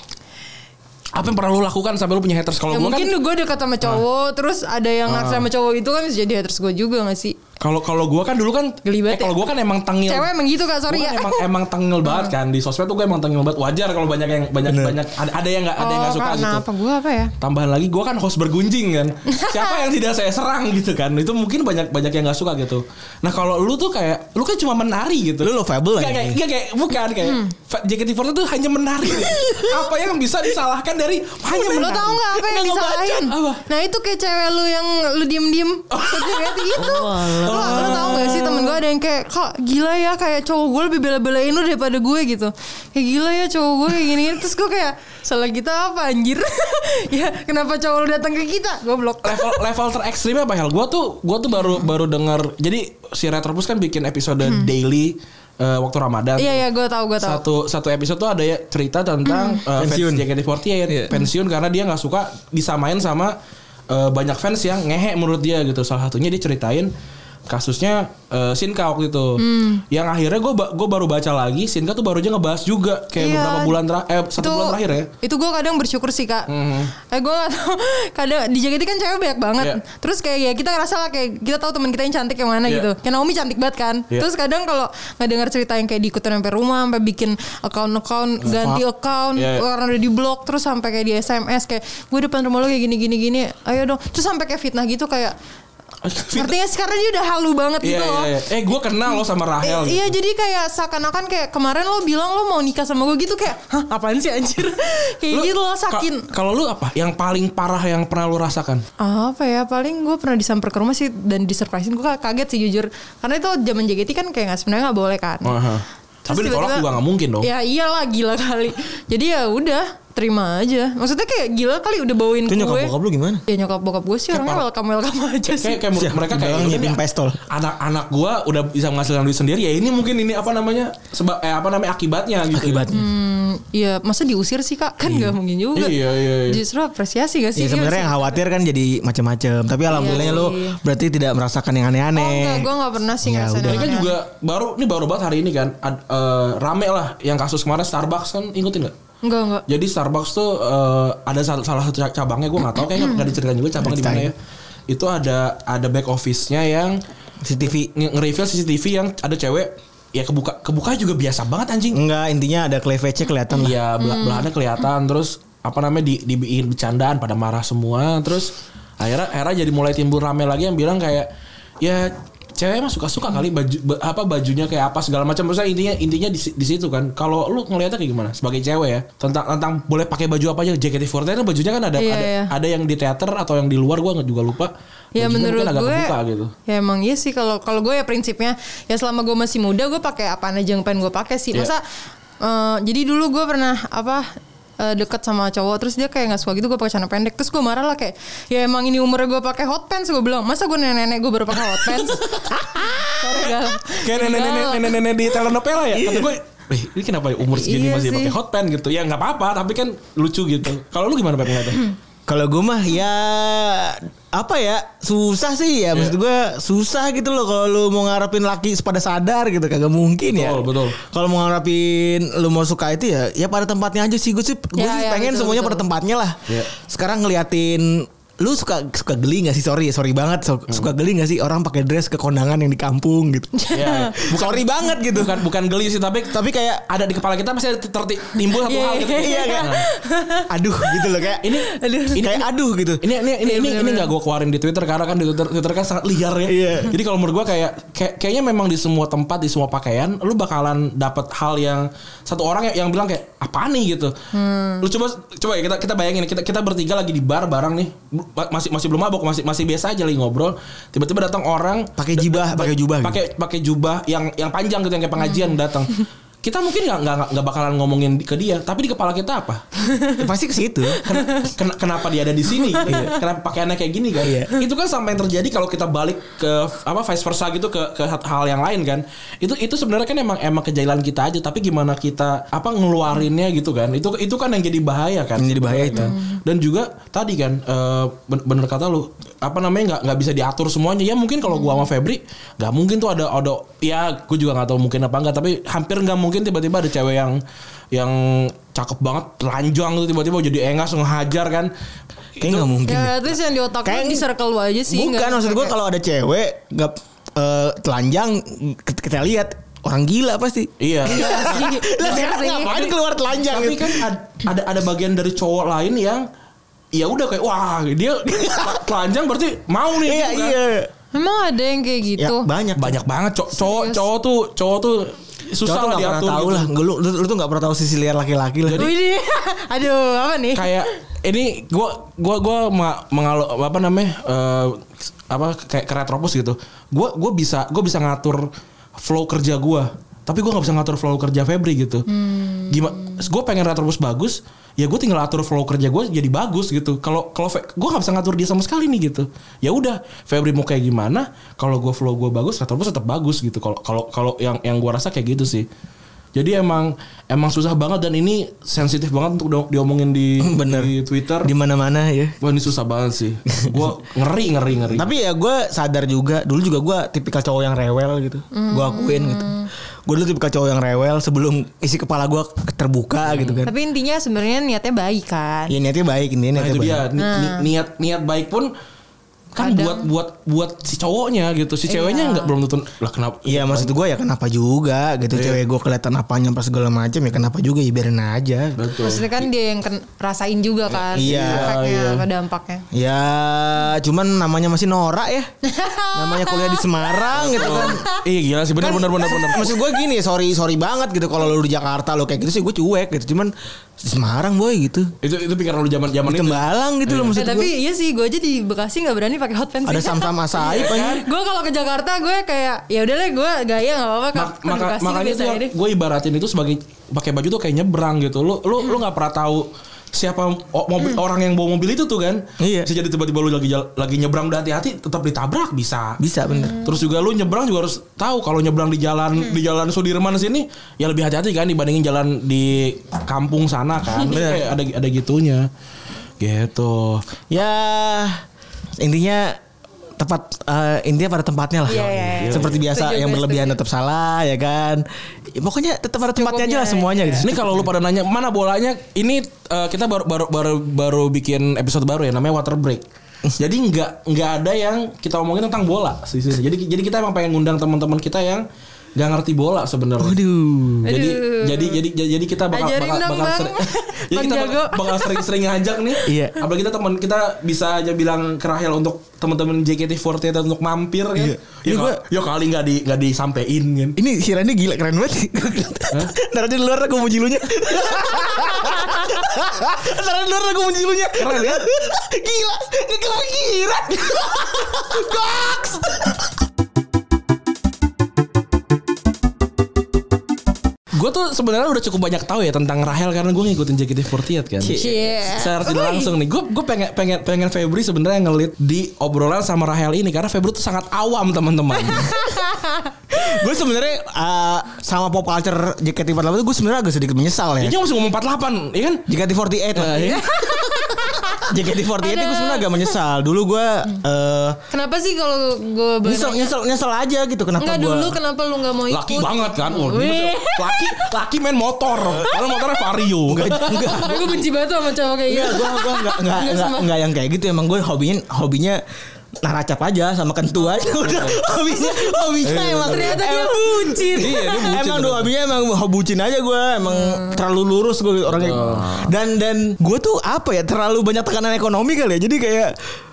B: Apa yang pernah lu lakukan sampai lu punya haters? Kalau
C: ya
B: gua
C: mungkin
B: kan Ah.
C: gue dekat sama cowok terus ada yang naksir sama cowok itu kan bisa jadi haters gue juga gak sih
B: kalau kalau gua kan dulu kan
C: Geli
B: eh,
C: banget
B: kalau
C: ya.
B: gua kan emang tengil.
C: cewek emang gitu kak
B: Gua kan
C: sorry ya
B: emang emang tengil banget kan di sosmed tuh gue emang tengil banget. Wajar kalau banyak yang banyak banyak ada, ada yang nggak ada yang
C: oh
B: nggak suka
C: karena
B: gitu.
C: apa gue apa ya
B: Tambahan lagi gue kan host bergunjing kan. Siapa yang tidak saya serang gitu kan. Itu mungkin banyak banyak yang nggak suka gitu. Nah, kalau lu tuh kayak lu kan cuma menari gitu.
D: Lu lo fable
B: Enggak kayak,
D: kan?
B: enggak kayak bukan kayak
C: Hmm.
B: fa- JKT48 tuh hanya menari. apa yang bisa disalahkan dari hanya menari?
C: Lo tau gak apa yang
B: Nggak ngebaca.
C: disalahin?
B: Apa? Oh.
C: Nah itu kayak cewek lu yang lu diem-diem Lihat itu lo, lo tau gak sih temen gue ada yang kayak Kak gila ya kayak cowok gue lebih bela-belain lu daripada gue gitu Kayak gila ya cowok gue kayak gini-gini Terus gue kayak salah kita apa anjir Ya kenapa cowok lu datang ke kita Goblok
B: level level terekstrimnya apa hal? Gua tuh gua tuh
C: Hmm.
B: baru baru dengar. Jadi si Retropus kan bikin episode daily eh, waktu Ramadan.
C: Iya
B: tuh.
C: iya gue tau gue tau
B: satu satu episode tuh ada ya cerita
C: Hmm.
B: tentang eh,
D: Pensiun.
B: fans JKT48 pensiun karena dia nggak suka disamain sama eh, banyak fans yang ngehe menurut dia gitu salah satunya dia ceritain kasusnya eh, Sinka waktu itu
C: Hmm.
B: yang akhirnya gue gue baru baca lagi Sinka tuh baru aja ngebahas juga kayak
C: Iya.
B: beberapa bulan terakhir eh, satu bulan terakhir ya Mm-hmm.
C: Itu gue kadang bersyukur sih kak. Eh gue gak tau. Kadang di JKT kan cewek banyak banget.
B: Iya.
C: Terus kayak ya kita ngerasa lah kayak kita tahu teman kita yang cantik yang mana
B: Iya.
C: gitu. Kayak Naomi cantik banget kan.
B: Iya.
C: Terus kadang kalau nggak dengar cerita yang kayak diikutin sampai rumah, sampai bikin account-account, ganti
B: fuck.
C: account,
B: Iya, iya.
C: orang udah di blok, terus sampai kayak di SMS kayak gue depan rumah lo kayak gini gini gini. Ayo dong. Terus sampai kayak fitnah gitu kayak. Ngerti gak sih? Karena dia udah halu banget
B: Iya,
C: gitu
B: iya,
C: loh.
B: iya. Eh gue kenal lo sama Rahel gitu.
C: Iya jadi kayak seakan-akan kayak kemarin lo bilang lo mau nikah sama gue gitu kayak hah apaan sih anjir kayak
B: Lu-
C: gitu lo
B: ka-
C: sakin
B: Kalau lu apa? Yang paling parah yang pernah lu rasakan?
C: apa ya paling gue pernah disamper ke rumah sih dan disurprisein gue kaget sih jujur karena itu zaman JKT kan kayak nggak sebenarnya nggak boleh kan
B: Aha.
C: Terus
B: Oh, Tapi ditolak
C: tiba-tiba-
B: juga nggak mungkin dong.
C: ya iyalah gila kali jadi ya udah terima aja maksudnya kayak gila kali udah bawain
D: Itu
C: gue
D: nyokap bokap lu gimana?
C: ya nyokap bokap gue sih orangnya welcome welcome aja Iya sih
B: kayak, kayak
D: Siap,
B: mereka kayak
D: dibilang
B: "Ini
D: nyiapin
B: ya,
D: pistol."
B: anak-anak gua udah bisa menghasilkan duit sendiri ya ini mungkin ini apa namanya sebab eh, apa namanya akibatnya gitu
D: Akibatnya.
C: ya masa diusir sih kak kan nggak mungkin juga
B: Iya, iya, iya.
C: justru apresiasi gak sih
D: Ya
C: Dia
D: sebenarnya yang
C: bisa-
D: khawatir kan jadi macam-macam. Tapi alhamdulillahnya
C: Iya
D: lu
C: sih.
D: berarti tidak merasakan yang aneh-aneh.
C: Oh enggak, gue gak pernah sih
D: Ya
C: ngerasain
D: udah.
B: ini
C: yang
B: kan
C: aneh-aneh.
B: juga baru ini baru banget hari ini kan ad- eh, rame lah yang kasus kemarin Starbucks kan ikutin nggak
C: Enggak, enggak.
B: jadi Starbucks tuh eh, ada sal- salah satu ca- cabangnya gua nggak tahu kayaknya nggak diceritain juga cabangnya di mana ya itu ada ada back office-nya yang
D: CCTV.
B: nge- nge-reveal CCTV yang ada cewek ya kebuka kebuka juga biasa banget anjing
D: Enggak, intinya ada cleavage-nya kelihatan lah.
B: Iya belah
C: Hmm.
B: belahannya kelihatan terus apa namanya di dibikin bercandaan pada marah semua terus akhirnya akhirnya jadi mulai timbul rame lagi yang bilang kayak ya cewek mah suka-suka kali baju ba- apa bajunya kayak apa segala macam maksudnya intinya intinya di, si- di situ kan kalau lu ngelihatnya kayak gimana sebagai cewek ya tentang tentang boleh pakai baju apa aja JKT48 kan bajunya kan ada
C: Iya,
B: ada,
C: iya.
B: ada yang di teater atau yang di luar gua juga lupa
C: Ya
B: Bajunya
C: menurut
B: mungkin agak
C: gue
B: kebuka gitu
C: Ya emang iya sih kalau kalau gue ya prinsipnya ya selama gue masih muda gue pakai apa aja yang pengen gue pakai sih.
B: Iya.
C: Masa eh, jadi dulu gue pernah apa eh, deket sama cowok terus dia kayak nggak suka gitu gue pakai celana pendek terus gue marah lah kayak ya emang ini umurnya gue pakai hot pants gue bilang masa gue nenek nenek gue baru pakai hot pants Sorry, galak.
B: kayak nenek-nenek
C: Galak.
B: nenek-nenek di telenovela ya kata gue "Wih, ini kenapa ya umur segini
C: Iya
B: masih
C: sih.
B: pakai hot pants gitu ya nggak apa-apa tapi kan lucu gitu kalau lu gimana pak ngeliatnya
D: Kalau gue mah ya apa ya susah sih
C: Iya.
D: ya maksud gue susah gitu loh kalau lu mau ngarepin laki pada sadar gitu kagak mungkin ya.
B: Betul, betul.
D: Kalau mau ngarepin lu mau suka itu ya ya pada tempatnya aja sih gue sih gue
C: Ya,
D: sih
C: ya,
D: pengen
C: betul,
D: semuanya
C: betul.
D: pada tempatnya lah.
B: Iya.
D: Sekarang ngeliatin lu suka suka geli gak sih sorry sorry banget so- suka geli gak sih orang pakai dress ke kondangan yang di kampung gitu
B: Iya.
D: sorry banget gitu
B: bukan bukan geli sih tapi
D: tapi kayak
B: ada di kepala kita masih ada terti- timbul satu
C: Iya,
B: hal gitu.
C: iya, iya.
B: Nah,
D: aduh gitu loh kayak
B: Ini
D: ini kayak aduh gitu
B: ini ini ini ini ini nggak gue keluarin di Twitter karena kan di Twitter, Twitter kan sangat liar ya.
D: Iya.
B: Jadi kalau menurut gue kayak kayak- kayaknya memang di semua tempat di semua pakaian lu bakalan dapat hal yang satu orang ya, yang, yang bilang kayak apa nih gitu. Lu coba coba ya kita kita bayangin kita kita bertiga lagi di bar bareng nih Ma- masih masih belum mabok masih masih biasa aja lagi ngobrol tiba-tiba datang orang
D: Pakai jibah, pakai jubah gitu.
B: pakai pakai jubah yang yang panjang gitu yang kayak pengajian datang kita mungkin nggak nggak nggak bakalan ngomongin ke dia tapi di kepala kita apa
D: pasti ke situ Kan
B: Ken- ken- kenapa dia ada di sini? Iya. kenapa pakaiannya kayak gini kan?
D: Iya.
B: Itu kan sampai yang terjadi kalau kita balik ke apa vice versa gitu ke ke hal yang lain kan. Itu itu sebenarnya kan emang emang kejailan kita aja tapi gimana kita apa ngeluarinnya gitu kan. Itu itu kan yang jadi bahaya kan.
D: Yang jadi bahaya itu.
B: Dan juga tadi kan eh, ben- bener kata lu apa namanya nggak nggak bisa diatur semuanya. Ya mungkin kalau gua sama
D: Mm-hmm.
B: Febri nggak mungkin tuh ada ada ya gua juga nggak tahu mungkin apa enggak tapi hampir nggak mungkin tiba-tiba ada cewek yang yang cakep banget telanjang tuh tiba-tiba jadi engas ngehajar kan.
D: kayak nggak mungkin
C: Ya at least yang di otak
D: Kayak-
C: lu di circle lu aja sih.
D: bukan
C: nggak-
D: maksud gue kalau ada cewek nggak eh, telanjang kita, kita lihat orang gila pasti
B: Iya.
D: lah sekarang
C: sih.
D: ngapain Iya, keluar telanjang
B: tapi
D: gitu?
B: kan ad- ada ada bagian dari cowok lain yang ya udah kayak wah dia telanjang berarti mau nih
D: iya
B: gitu kan.
D: iya
C: Emang ada yang kayak
D: ya,
C: gitu.
D: banyak
B: banyak banget cow- cowok
C: Serius.
B: cowok tuh cowok tuh susah
D: Cowok tuh
B: lah
D: nggak pernah
B: diatur
D: tahu
B: gitu.
D: lah lu, lu, lu tuh nggak pernah tahu sisi liar laki-laki lah
C: Widih. Aduh, apa nih?
B: kayak ini gua gua gua ma- mengalo apa namanya eh, apa kayak ke retropus gitu gua gua bisa gua bisa ngatur flow kerja gua tapi gua nggak bisa ngatur flow kerja Febri gitu gimana gua pengen retropus bagus ya gue tinggal atur flow kerja gua jadi bagus gitu kalau kalau Fe- gua nggak bisa ngatur dia sama sekali nih gitu ya udah Febri mau kayak gimana kalau gua flow gua bagus retropus tetap bagus gitu kalau kalau kalau yang yang gua rasa kayak gitu sih jadi emang emang susah banget dan ini sensitif banget untuk do- diomongin di
D: Bener.
B: di Twitter.
D: di mana-mana ya
B: Wah ini susah banget sih. Gua ngeri ngeri ngeri.
D: Tapi ya gue sadar juga Dulu juga gue tipikal cowok yang rewel gitu Gue
C: Hmm.
D: akuin gitu Gue dulu tipikal cowok yang rewel Sebelum isi kepala gue terbuka gitu kan
C: Hmm. Tapi intinya sebenarnya niatnya baik kan.
D: Ya niatnya baik ini
B: nah,
D: niatnya
B: itu
D: baik
B: dia ni- ni- niat niat baik pun kan
C: Kadang. Iya.
B: buat buat buat si cowoknya gitu. Si ceweknya nggak belum tentu lah kenapa?
D: Iya maksud gue ya kenapa juga gitu
B: Iya.
D: Cewek gue kelihatan apanya pas segala macam Ya kenapa juga ya biarin aja
B: Betul.
C: Maksudnya kan dia yang ken- rasain juga kan
D: Iya,
C: efeknya
B: iya.
C: apa dampaknya.
D: Ya cuman namanya masih Nora ya Namanya kuliah di Semarang gitu kan
B: Iya gila sih benar
D: Kan-
B: benar benar benar.
D: Maksud gue gini sorry sorry banget gitu Kalau lu di Jakarta lu kayak gitu sih gue cuek gitu Cuman di Semarang boy gitu
B: Itu itu pikiran lu zaman zaman
D: Di
B: itu.
D: Tembalang gitu loh
C: Eh,
D: maksud gue
C: tapi iya sih gue aja di Bekasi nggak berani pakai hot pants.
D: Ada Oh, sam-sam asaib aja.
C: gue kalau ke Jakarta gue kayak ya udah deh gue gaya nggak apa-apa
B: Ma-
C: ke- ke
B: maka,
C: Bekasi
B: makanya
C: biasa aja deh.
B: gue ibaratin itu sebagai pakai baju tuh kayak nyebrang gitu. Lu lu lu nggak pernah tahu siapa o-
C: Mm.
B: mobil- orang yang bawa mobil itu tuh kan.
D: Iya.
B: Bisa jadi tiba-tiba lu lagi jal- lagi nyebrang udah hati-hati tetap ditabrak bisa.
D: Bisa bener
B: Terus juga lu nyebrang juga harus tahu kalau nyebrang di jalan di jalan Sudirman sini ya lebih hati-hati kan dibandingin jalan di kampung sana kan. Kayak ada ada gitunya. Gitu.
D: Ya intinya tepat eh, intinya pada tempatnya lah.
C: Iya, iya, iya.
D: Seperti biasa
C: Setuju,
D: yang
C: gue
D: berlebihan
C: setuju.
D: tetap salah ya kan. Ya, pokoknya tetap pada tempatnya aja lah
C: Cukupnya,
D: semuanya gitu.
B: Ini kalau lu pada nanya mana bolanya, ini eh, kita baru baru baru baru bikin episode baru ya namanya Water Break. Jadi nggak nggak ada yang kita omongin tentang bola sih, sih. Jadi jadi kita emang pengen ngundang teman-teman kita yang nggak ngerti bola
D: Oh,
B: sebenarnya.
D: Aduh.
B: Jadi,
C: Aduh.
B: jadi jadi jadi jadi kita bakal
C: Ajarin
B: bakal,
C: dong,
B: bakal
C: Bang.
B: sering jadi
C: Bang
B: kita bakal,
C: Jago.
B: bakal sering-sering ngajak nih.
D: Iya.
B: Apalagi kita teman kita bisa aja bilang ke Rahel untuk teman-teman JKT48 untuk mampir kan.
D: Iya. Ini
B: Ya,
D: gua-
B: ka- ya kali nggak di nggak disampein kan.
D: Ini si Randy gila keren banget sih. Ntar aja di luar aku muji lunya. Ntar aja di luar aku muji lunya.
B: Keren,
C: ya?
B: kan?
D: gila. Gak kepikiran. Goks.
B: Gue tuh sebenarnya udah cukup banyak tahu ya tentang Rahel karena gue ngikutin JKT48 kan.
C: Cie.
B: Secara tidak langsung nih, gue gue pengen pengen pengen Febri sebenarnya ngelit di obrolan sama Rahel ini karena Febri tuh sangat awam teman-teman.
D: gue sebenarnya eh, sama pop culture JKT48 itu gue sebenarnya agak sedikit menyesal ya.
B: Dia masih ngomong 48, ya kan?
D: JKT48 lah.
B: Iya.
D: JKT48 itu gue sebenarnya agak menyesal. Dulu gue eh
C: Kenapa sih kalau gue boleh
D: nyesel,
C: nanya?
D: nyesel, nyesel aja gitu kenapa
C: Enggak
D: gua-
C: dulu kenapa lu nggak mau ikut?
B: Laki banget kan. Wah, gila.
C: Wih.
B: laki laki main motor. Kalau motornya Vario.
D: Enggak,
C: Aku benci banget sama cowok kayak
D: Enggak,
C: gitu.
D: gue Iya, gua enggak enggak
C: Enggak
D: enggak,
C: sama.
D: enggak yang kayak gitu emang gue hobinya hobinya naracap aja sama kentu aja udah hobinya hobinya
C: Iya,
D: emang
C: Ternyata dia
D: emang-
B: Iya,
C: buncit.
B: dia bucin
D: emang
B: ternyata.
D: dua hobinya emang hobucin aja gue emang terlalu lurus gue orangnya
B: Oh.
D: dan dan gue tuh apa ya terlalu banyak tekanan ekonomi kali ya jadi kayak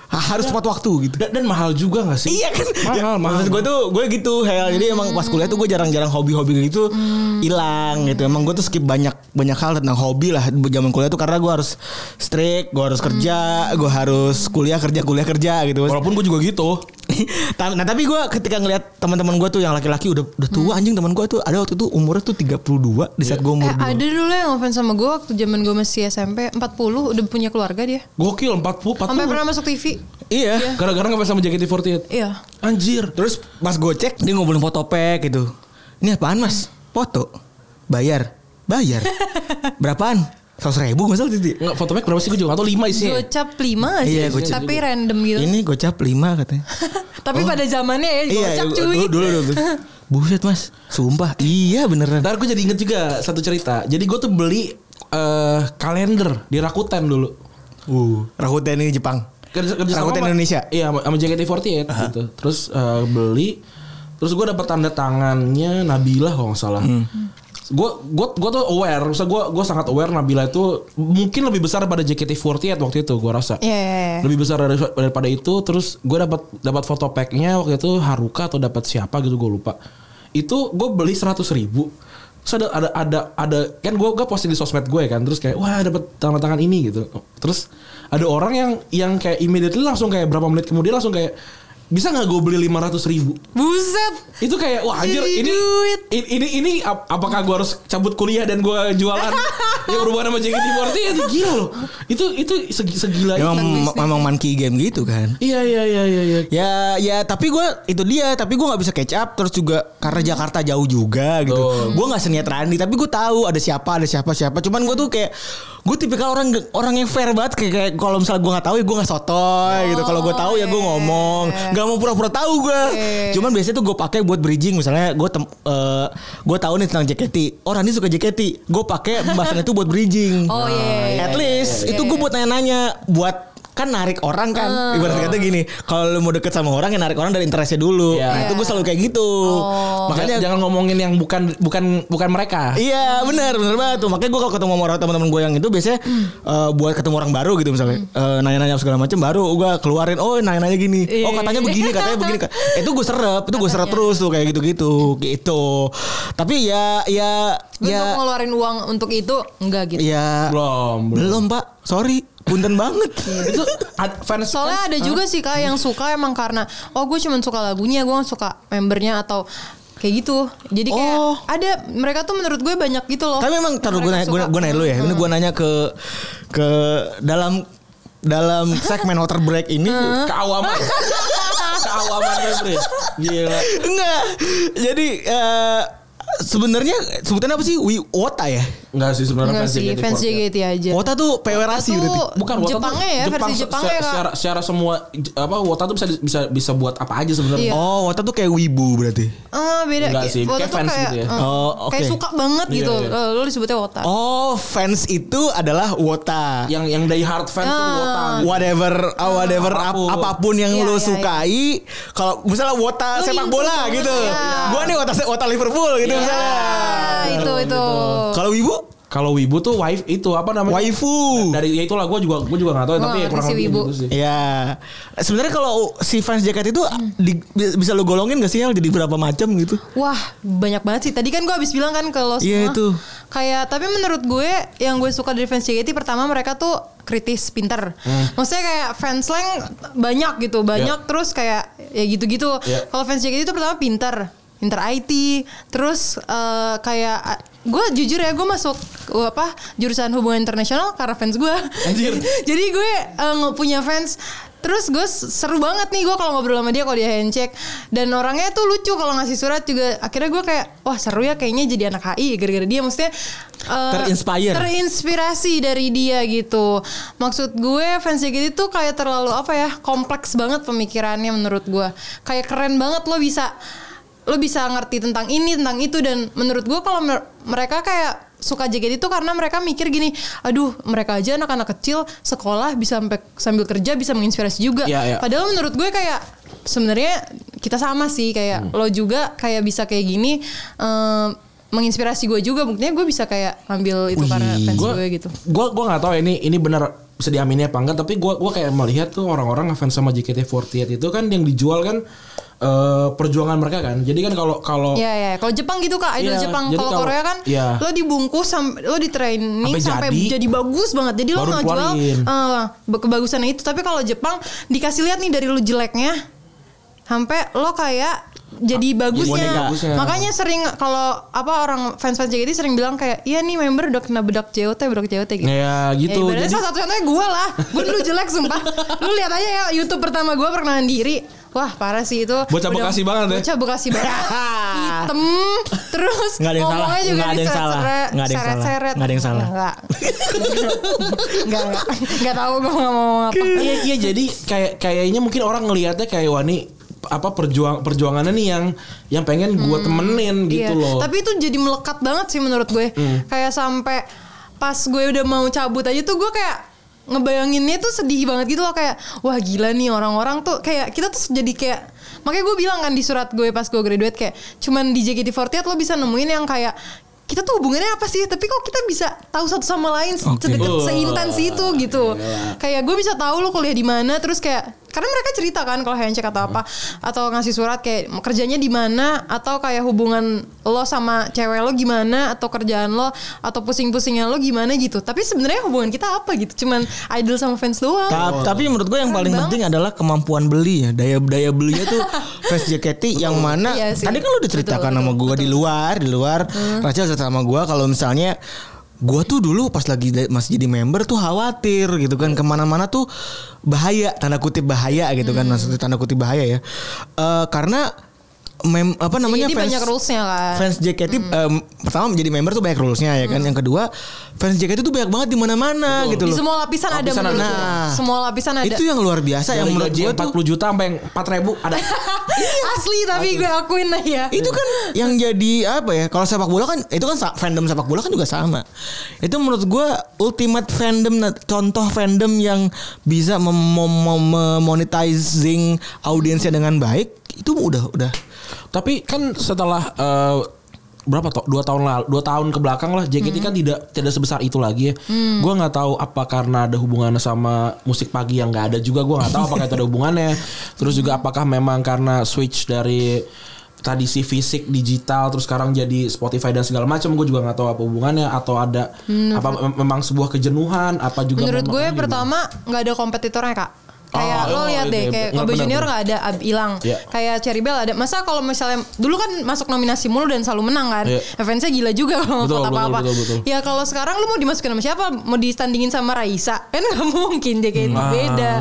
D: ah, harus tepat waktu gitu
B: Dan, dan mahal juga gak sih?
D: Iya kan
B: Mahal, mahal.
D: Maksud gue tuh Gue gitu Hel Jadi emang pas kuliah tuh Gue jarang-jarang hobi-hobi kayak gitu Hilang gitu Emang gue tuh skip banyak Banyak hal tentang hobi lah Zaman kuliah tuh Karena gue harus Strict Gue harus kerja Gue harus kuliah kerja Kuliah kerja gitu
B: Walaupun gue juga gitu.
D: Ta- Nah tapi gue ketika ngeliat teman-teman gue tuh Yang laki-laki udah udah tua Anjing teman gue tuh Ada waktu itu umurnya tuh 32 Di saat gue
C: Eh,
D: umur
C: ada dulu yang offense sama gue waktu zaman gue masih SMP 40 udah punya keluarga dia.
B: Gokil 40 40.
C: Sampai pernah masuk TV.
D: Iya
B: Gara-gara gak bisa sama JKT48.
C: Iya.
B: Anjir.
D: Terus pas gue cek Dia ngobrolin foto pack gitu Ini apaan mas? Foto Bayar Bayar Berapaan? 100 ribu gak salah Titi
B: Enggak, foto pack berapa sih gue juga atau 5 isinya.
C: Gocap 5 aja.
D: Iya, gocap.
C: tapi random gitu.
D: Ini gocap 5 katanya. Iya,
C: tapi pada zamannya ya gocap cuy.
D: Dulu, dulu, dulu. Buset mas, sumpah. Iya beneran.
B: Ntar gue jadi inget juga satu cerita. Jadi gue tuh beli eh kalender di Rakuten dulu.
D: Uh, Rakuten ini Jepang.
B: Kerja, kerja sama
D: Rakuten
B: sama-
D: Indonesia.
B: Iya, sama- sama JKT48 gitu. Terus eh, beli terus gue dapet tanda tangannya Nabila kalau nggak salah. Gue gue gue tuh aware, maksudnya gue gue sangat aware Nabila itu mungkin lebih besar pada JKT48 waktu itu gue rasa.
C: Iya, iya, iya.
B: lebih besar dari, daripada itu terus gue dapat dapat foto packnya waktu itu Haruka atau dapat siapa gitu gue lupa itu gue beli seratus ribu terus ada ada ada, ada kan gue gue posting di sosmed gue kan terus kayak wah dapat tangan tangan ini gitu terus ada orang yang yang kayak immediately langsung kayak berapa menit kemudian langsung kayak bisa nggak gue beli lima ratus ribu
C: Buset.
B: itu kayak wah anjir
C: Jadi
B: ini,
C: duit.
B: ini ini ini ap- apakah gue harus cabut kuliah dan gue jualan yang berhubungan sama JKT48 itu gila loh itu itu segi- segila itu.
C: Iya,
D: Emang memang monkey game gitu kan.
B: Iya iya iya iya iya.
D: Ya ya tapi gue itu dia tapi gue nggak bisa catch up terus juga karena Jakarta jauh juga gitu. Gue nggak seniat Randi tapi gue tahu ada siapa ada siapa siapa. Cuman gue tuh kayak gue tipikal orang orang yang fair banget kayak, kayak kalau misalnya gue nggak tahu ya gue nggak sotoy gitu. Kalau gue tahu ya
C: Oh,
D: gue ngomong.
C: iya.
D: Gak mau pura-pura tahu gue. Cuman biasanya tuh gue pakai buat bridging misalnya gue tem eh, gue tahu nih tentang JKT. Oh Randi suka JKT. Gue pakai pembahasan itu buat bridging. Nah,
C: Oh, iya, iya,
D: At least itu gue buat nanya-nanya buat kan narik orang
C: Ah.
D: kan ibarat kata gini kalau lu mau deket sama orang ya narik orang dari interestnya dulu
B: Iya.
D: Nah, itu gue selalu kayak gitu
C: Oh.
B: Makanya
D: makanya
B: jangan ngomongin yang bukan bukan bukan mereka.
D: Iya benar benar banget tuh makanya gue kalau ketemu sama orang teman-teman gue yang itu biasanya
C: Hmm.
D: eh, buat ketemu orang baru gitu misalnya Eh, nanya-nanya segala macam baru gue keluarin oh nanya-nanya gini
C: Iya.
D: oh katanya begini katanya begini itu gue serap itu gue serap terus tuh kayak gitu-gitu gitu tapi ya ya
C: Lu
D: ya
C: mau ngeluarin uang untuk itu enggak gitu.
D: ya
B: Belum. belum.
D: belum pak sorry punten banget
B: itu ad- fans
C: Soalnya ada juga sih kak yang suka emang karena oh gue cuman suka lagunya, gue nggak suka membernya atau kayak gitu. Jadi kayak
D: Oh.
C: ada mereka tuh menurut gue banyak gitu loh.
D: Tapi memang taruh gue
C: Mereka
D: nanya, gue,
C: suka. Hmm.
D: gue nanya dulu ya. Ini gue nanya ke ke dalam dalam segmen water break ini
B: keawaman. keawaman fans Bre. Gila.
D: enggak. Jadi eh, sebenarnya sebutannya apa sih? Wi- Wota ya.
B: Enggak sih sebenarnya
C: Enggak
B: fans
C: sih
B: JKT48.
C: fans JKT aja.
D: Wota tuh PW Rasi
C: Itu
D: berarti.
B: Bukan Wota tuh
C: Jepangnya ya, versi
B: se-
C: Jepangnya,
B: se-
C: Kak.
B: Secara, secara semua j- apa Wota tuh bisa bisa bisa buat apa aja sebenarnya.
C: Iya.
D: Oh, Wota tuh kayak wibu berarti.
C: Ah beda.
B: Enggak sih,
C: Wota
B: kayak
C: tuh
B: fans
C: kayak,
B: gitu ya.
C: eh,
D: Oh, oke.
C: kayak suka banget
B: Iya,
C: gitu.
B: iya.
C: Eh, Lo disebutnya Wota.
D: Oh, fans itu adalah Wota.
C: Iya.
B: Yang yang die hard fans tuh Wota.
D: Whatever, ah, whatever ap- apapun,
B: Apapun.
D: yang
C: Iya,
D: lu
C: iya, iya.
D: sukai, kalau misalnya
C: Lu
D: wota
C: Iya.
D: sepak
C: ngikut
D: bola
C: banget,
D: gitu,
C: iya.
D: gua nih wota wota Liverpool gitu misalnya.
C: Ah, itu itu.
D: Kalau wibu,
B: Kalau Wibu tuh wife itu apa namanya?
D: waifu.
B: Dari ya itulah gue juga gue juga nggak tahu ya,
C: Gua
B: tapi ya
C: nggak
B: kurang
C: ngerti sih
B: lebih
C: Wibu.
B: gitu sih.
D: Ya, sebenarnya kalau si fans jaket itu
C: Hmm.
D: di- bi- bisa lo golongin gak sih Al jadi berapa macam gitu?
C: Wah banyak banget sih. Tadi kan gue habis bilang kan ke lo semua.
D: Iya, itu.
C: Kayak tapi menurut gue yang gue suka dari fans JKT pertama mereka tuh kritis pinter. Maksudnya kayak fans slang banyak gitu banyak terus kayak ya gitu-gitu.
B: Iya.
C: Kalau fans JKT itu pertama pinter pinter IT terus eh, kayak a- gue jujur ya gue masuk eh, apa jurusan hubungan internasional karena fans gue
B: Anjir.
C: jadi gue eh, nggak punya fans Terus gue seru banget nih gue kalau ngobrol sama dia kalau dia handshake dan orangnya tuh lucu kalau ngasih surat juga akhirnya gue kayak wah seru ya kayaknya jadi anak HI gara-gara dia maksudnya eh,
D: Terinspire.
C: terinspirasi dari dia gitu maksud gue fans JKT tuh kayak terlalu apa ya kompleks banget pemikirannya menurut gue kayak keren banget lo bisa lo bisa ngerti tentang ini tentang itu dan menurut gue kalau mer- mereka kayak suka JKT itu karena mereka mikir gini, aduh mereka aja anak-anak kecil sekolah bisa sampai sambil kerja bisa menginspirasi juga.
B: Iya, iya.
C: Padahal menurut gue kayak sebenarnya kita sama sih kayak
B: Hmm.
C: lo juga kayak bisa kayak gini em, menginspirasi gue juga. Buktinya gue bisa kayak ngambil itu karena fans gue gitu.
B: Gue gue nggak tahu ya ini ini benar bisa diamini apa enggak tapi gue gua kayak melihat tuh orang-orang ngefans sama JKT48 itu kan yang dijual kan eh, perjuangan mereka kan. Jadi kan kalau kalau
C: Iya ya, kalau Jepang gitu kak, idol
B: Iya,
C: Jepang.
B: jadi
C: Kalau
B: kalau-
C: Korea kan,
B: iya.
C: lo dibungkus, sam- lo di training
B: Sampai
C: sampai
B: jadi.
C: jadi, bagus banget. Jadi lo
B: Baru
C: nggak jual
B: dikeluarin.
C: eh, be- kebagusannya itu. Tapi kalau Jepang dikasih lihat nih dari lo jeleknya, sampai lo kayak jadi
B: Ah, boneka.
C: bagusnya.
B: Bagusnya.
C: Makanya sering kalau apa orang fans-fans JKT sering bilang kayak, iya nih member udah kena bedak JOT, bedak JOT gitu.
B: ya gitu.
C: Ya, ibaratnya
B: Jadi-
C: salah satu contohnya gue lah Gue dulu jelek sumpah Lu lihat aja ya Youtube pertama gue perkenalan diri Wah parah sih itu
B: Bocah
C: Udah-
B: Bekasi banget ya.
C: Bocah Bekasi banget Hitam Terus
D: Nggak ada yang salah,
C: ngomongnya juga
D: nggak ada yang
C: diseret-
D: salah,
C: seret-
D: nggak ada yang salah,
C: seret-seret.
D: nggak ada yang salah.
C: Nggak Nggak Nggak Nggak tahu gue mau ngomong apa
B: iya iya jadi kayak kayaknya mungkin orang ngelihatnya kayak wani apa perjuang perjuangannya nih yang yang pengen gua temenin gitu
C: Hmm. Iya.
B: loh. Hmm.
C: Tapi itu jadi melekat banget sih menurut gue. Kayak sampai pas gue udah mau cabut aja tuh gue kayak ngebayanginnya tuh sedih banget gitu loh kayak wah gila nih orang-orang tuh kayak kita tuh jadi kayak makanya gue bilang kan di surat gue pas gue graduate kayak cuman di JKT48 lo bisa nemuin yang kayak kita tuh hubungannya apa sih tapi kok kita bisa tahu satu sama lain se-
D: Oke.
C: sedekat seintens itu gitu kayak gue bisa tahu lo kuliah di mana terus kayak karena mereka cerita kan kalau handshake atau apa atau ngasih surat kayak kerjanya di mana atau kayak hubungan lo sama cewek lo gimana atau kerjaan lo atau pusing-pusingnya lo gimana gitu tapi sebenarnya hubungan kita apa gitu cuman idol sama fans doang
D: Ta- tapi menurut gue yang
C: Keren
D: paling
C: banget.
D: penting adalah kemampuan beli ya daya daya belinya tuh fans JKT yang mana
C: Iya sih.
D: tadi kan lu diceritakan
C: Betul,
D: sama
C: betul, Hmm.
D: gue di luar di luar Rachel cerita sama gue kalau misalnya gue tuh dulu pas lagi da- masih jadi member tuh khawatir gitu kan kemana-mana tuh bahaya tanda kutip bahaya gitu kan
C: Hmm.
D: maksudnya tanda kutip bahaya ya Eh, karena mem apa namanya
C: jadi
D: fans-
C: banyak rulesnya kan
D: fans JKT
B: Hmm.
D: em, pertama menjadi member tuh banyak rulesnya ya kan. Yang kedua, fans JKT tuh banyak banget di mana-mana gitu
C: di
D: loh.
C: semua lapisan, ada
B: Lapisan
C: menurut
D: ada.
C: gue.
D: Nah.
C: semua lapisan ada
D: Itu yang luar biasa yang
B: Dari
D: menurut
B: gaji
D: gue
B: empat
D: tuh
B: puluh juta sampai empat ribu ada.
C: asli tapi gue akuin lah ya
D: itu kan yang jadi apa ya kalau sepak bola kan itu kan sa- fandom sepak bola kan juga sama itu menurut gue ultimate fandom nah, contoh fandom yang bisa mem- mem- mem- memonetizing audiensnya dengan baik itu udah udah
B: Tapi kan setelah eh, berapa toh dua tahun lalu dua tahun ke belakang lah
C: Hmm.
B: JKT kan tidak tidak sebesar itu lagi ya. Gua nggak tahu apa karena ada hubungannya sama musik pagi yang nggak ada juga. Gua nggak tahu apakah itu ada hubungannya. Terus juga apakah memang karena switch dari tradisi fisik digital terus sekarang jadi Spotify dan segala macam gue juga nggak tahu apa hubungannya atau ada apa mem- memang sebuah kejenuhan apa juga
C: Hmm. Menurut
B: memang-
C: gue
B: gimana?
C: pertama nggak ada kompetitornya kak.
B: Oh,
C: Kayak lo
B: oh,
C: lihat
B: iya,
C: deh,
B: iya,
C: kayak
B: benar,
C: Kobe
B: benar,
C: Junior
B: benar.
C: nggak ada ab- hilang.
B: Iya.
C: Kayak Cherry Bell ada. Masa kalau misalnya dulu kan masuk nominasi mulu dan selalu menang kan.
B: Iya.
C: Fansnya gila juga kalau
B: Betul,
C: ngevote
B: betul,
C: apa-apa.
B: betul, betul.
C: Ya kalau sekarang lu mau dimasukin sama siapa? Mau distandingin sama Raisa? Kan nggak mungkin deh kayak beda.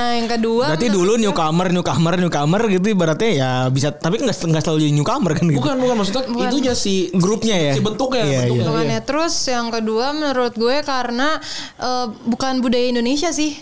C: Nah yang kedua.
D: berarti
C: menurut-
B: ya.
D: dulu newcomer newcomer newcomer gitu ibaratnya ya bisa tapi nggak nggak selalu jadi newcomer kan gitu
B: bukan bukan maksudnya
C: Bukan.
B: itunya si
D: grupnya ya
B: si bentuknya
D: Iya,
B: bentuknya.
D: iya.
C: hitungannya. Terus yang kedua menurut gue karena eh, bukan budaya Indonesia sih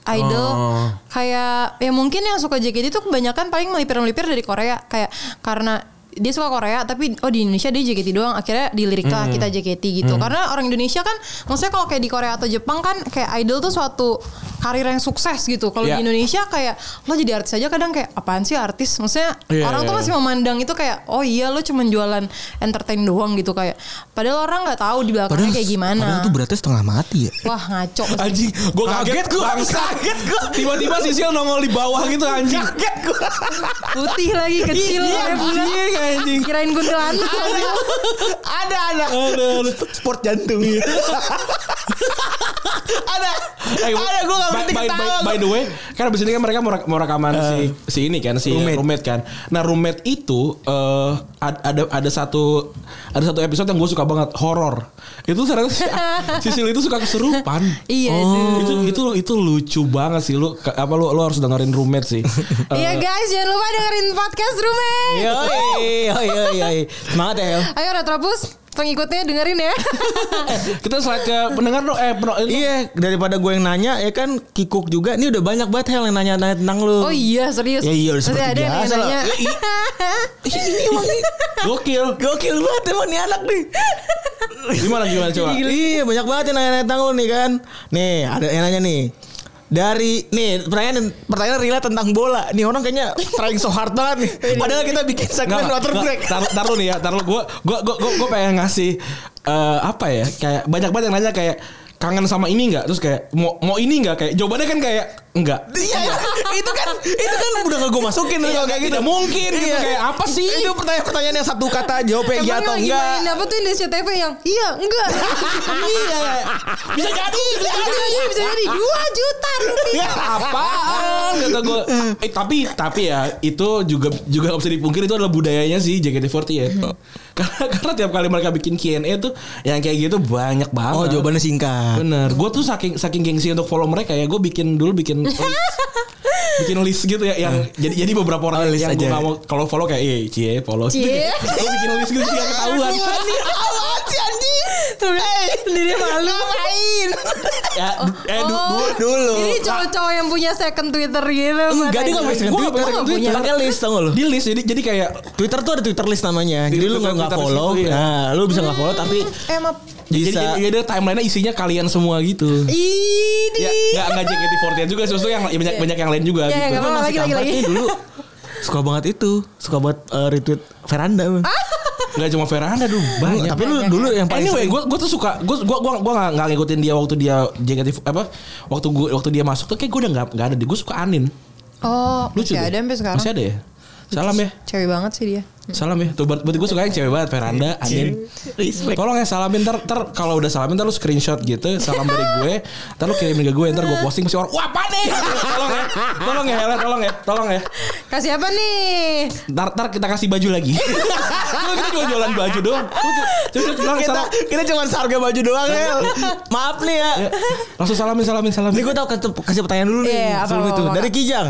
C: idol
B: Oh.
C: kayak ya mungkin yang suka JKT itu kebanyakan paling melipir-melipir dari Korea kayak karena dia suka Korea tapi oh di Indonesia dia JKT doang akhirnya dilirik lah kita JKT gitu karena orang Indonesia kan maksudnya kalau kayak di Korea atau Jepang kan kayak idol tuh suatu karir yang sukses gitu kalau
B: Iya.
C: di Indonesia kayak lo jadi artis aja kadang kayak apaan sih artis maksudnya
B: Iya,
C: orang tuh
B: iya,
C: masih memandang itu kayak oh iya lo cuman jualan entertain doang gitu kayak padahal orang nggak tahu di belakangnya kayak gimana
D: padahal tuh beratnya setengah mati ya
C: wah ngaco sih.
B: Anjing, gue kaget, gue kaget gue. Tiba-tiba Sisil nongol di bawah gitu anjing. Kaget gue.
C: putih lagi kecil
D: Iya,
C: warna bulat.
B: Anjing, anjing.
C: kirain
B: ya.
C: kuntilanak
D: ada ada sport jantung ada. ada gue
B: by,
D: gak berhenti
B: by, by,
D: ketawa.
B: by the way, kan abis ini kan mereka mau, rak- mau rekaman si si ini kan si roommate,
D: Roommate.
B: kan. Nah roommate itu eh, ad- ada ada satu ada satu episode yang gue suka banget horor. Itu ternyata si, si Sil itu suka keserupan.
D: Oh.
C: Iya,
B: itu itu itu lucu banget sih lu ke- apa lu lu harus dengerin roommate sih. Eh,
C: Iya guys, jangan lupa dengerin podcast Rumen.
D: Yoi, yoi, yoi, yoi. Semangat ya, El.
C: Ayo Retropus, pengikutnya dengerin ya.
B: kita slide ke pendengar dong eh pendengar-
D: Iya, daripada gue yang nanya ya kan Kikuk juga. Ini udah banyak banget Hel yang nanya-nanya tentang lu.
C: Oh iya, serius.
D: Ya iya, udah
C: Masih
D: seperti
C: ada yang
D: biasa lah.
C: nanya.
D: Ya, iya. ini emang nih.
B: Gokil.
D: Gokil banget emang nih anak nih.
B: Gimana gimana coba?
D: Iya banyak banget yang nanya-nanya tentang lu nih kan. Nih ada yang nanya nih. Dari nih pertanyaan pertanyaan relate tentang bola. Nih orang kayaknya trying so hard banget nih. Padahal kita bikin segmen water break.
B: Taruh taruh nih ya, taruh gue gue gue gue gue pengen ngasih eh, apa ya? Kayak banyak banget yang nanya kayak kangen sama ini nggak? Terus kayak mau mau ini nggak? Kayak jawabannya kan kayak enggak.
D: Iya, iya. itu kan itu kan udah gak gue masukin tuh kalau kayak gitu.
B: tidak mungkin gitu.
D: Iya.
B: Kayak apa sih?
D: Itu pertanyaan-pertanyaan yang satu kata jawabnya iya
C: Emang
D: atau
C: lagi
D: enggak.
C: main apa tuh Indonesia TV yang iya enggak iya
B: Bisa jadi,
C: bisa
D: Iya,
C: jadi bisa jadi dua juta
B: Ya,
C: rupiah
B: apaan kata gue
D: Mm.
B: eh, tapi tapi ya itu juga juga nggak bisa dipungkiri itu adalah budayanya sih JKT48 ya
D: Mm.
B: karena karena tiap kali mereka bikin Q&A tuh yang kayak gitu banyak banget
D: Oh jawabannya singkat.
B: Bener, gue tuh saking saking gengsi untuk follow mereka ya, gue bikin dulu bikin list, bikin list gitu ya yang jadi jadi beberapa orang
D: Mm. Oh, list
B: yang gue
D: aja.
B: nggak mau kalau follow kayak iya cie follow gitu.
C: Cie.
B: Gue bikin list gitu yang ketahuan.
D: Awat sih anjing.
C: terus sendiri malu
D: Ngapain?
B: ya, du- eh du-
C: Oh,
B: du-
D: dulu.
C: ini cowok-cowok yang punya second Twitter gitu
D: Enggak
C: katanya.
D: dia gak punya Instagram
B: Gua nggak
D: Twitter.
B: punya
D: Dia
B: Twitter.
D: Pakai list tau gak lu?
B: di list jadi jadi kayak
D: Twitter tuh ada Twitter list namanya.
B: Di
D: Jadi lu
B: Twitter-
D: nggak nggak
B: Twitter list
D: follow.
B: itu, iya. Eh,
D: Nah, lu bisa nggak follow tapi
C: emang
B: jadi
D: bisa. Eh,
B: jadi ada timelinenya isinya kalian semua gitu.
C: ini
B: Ya nggak nggak JKT48 juga, sesuatu yang banyak banyak yang lain juga.
C: Ya,
B: gitu.
C: nggak
D: Gua
C: apa-apa,
D: masih
C: lagi,
D: kampret
C: lagi,
D: nih
C: lagi.
D: Dulu suka banget itu, suka banget eh, retweet Veranda. Bang.
B: Nggak cuma Veranda dulu Ah, iya, banyak.
D: Tapi lu dulu yang paling
B: anyway,
D: sering-
B: gue gue tuh suka gue gue gue gue nggak ngikutin dia waktu dia JKT apa waktu gue waktu dia masuk tuh kayak gue udah nggak nggak ada di gue suka Anin
C: oh
B: lucu
C: lucu
B: deh.
C: ada sampai sekarang
B: masih ada ya salam ya
C: cewek banget sih dia
B: salam ya tuh ber- berarti gue suka yang cewek banget Veranda Anin
D: respect.
B: tolong ya salamin ntar ntar kalau udah salamin ntar lu screenshot gitu salam dari gue ntar lu kirimin ke gue ntar gue posting pasti orang wah apa nih tolong ya tolong ya Hela tolong ya tolong ya
C: kasih apa nih
B: ntar ntar kita kasih baju lagi Lu kita cuma jualan baju doang Cuma- cuma- cuma
D: Kita
B: salam.
D: kita cuma harga baju doang ya. Maaf nih ya.
B: Ya, langsung salamin salamin salamin
D: Ini gue tau kasih, kasih pertanyaan dulu nih
C: Iya, apa,
D: sebelum
C: apa,
D: itu.
C: apa,
D: Dari Kijang.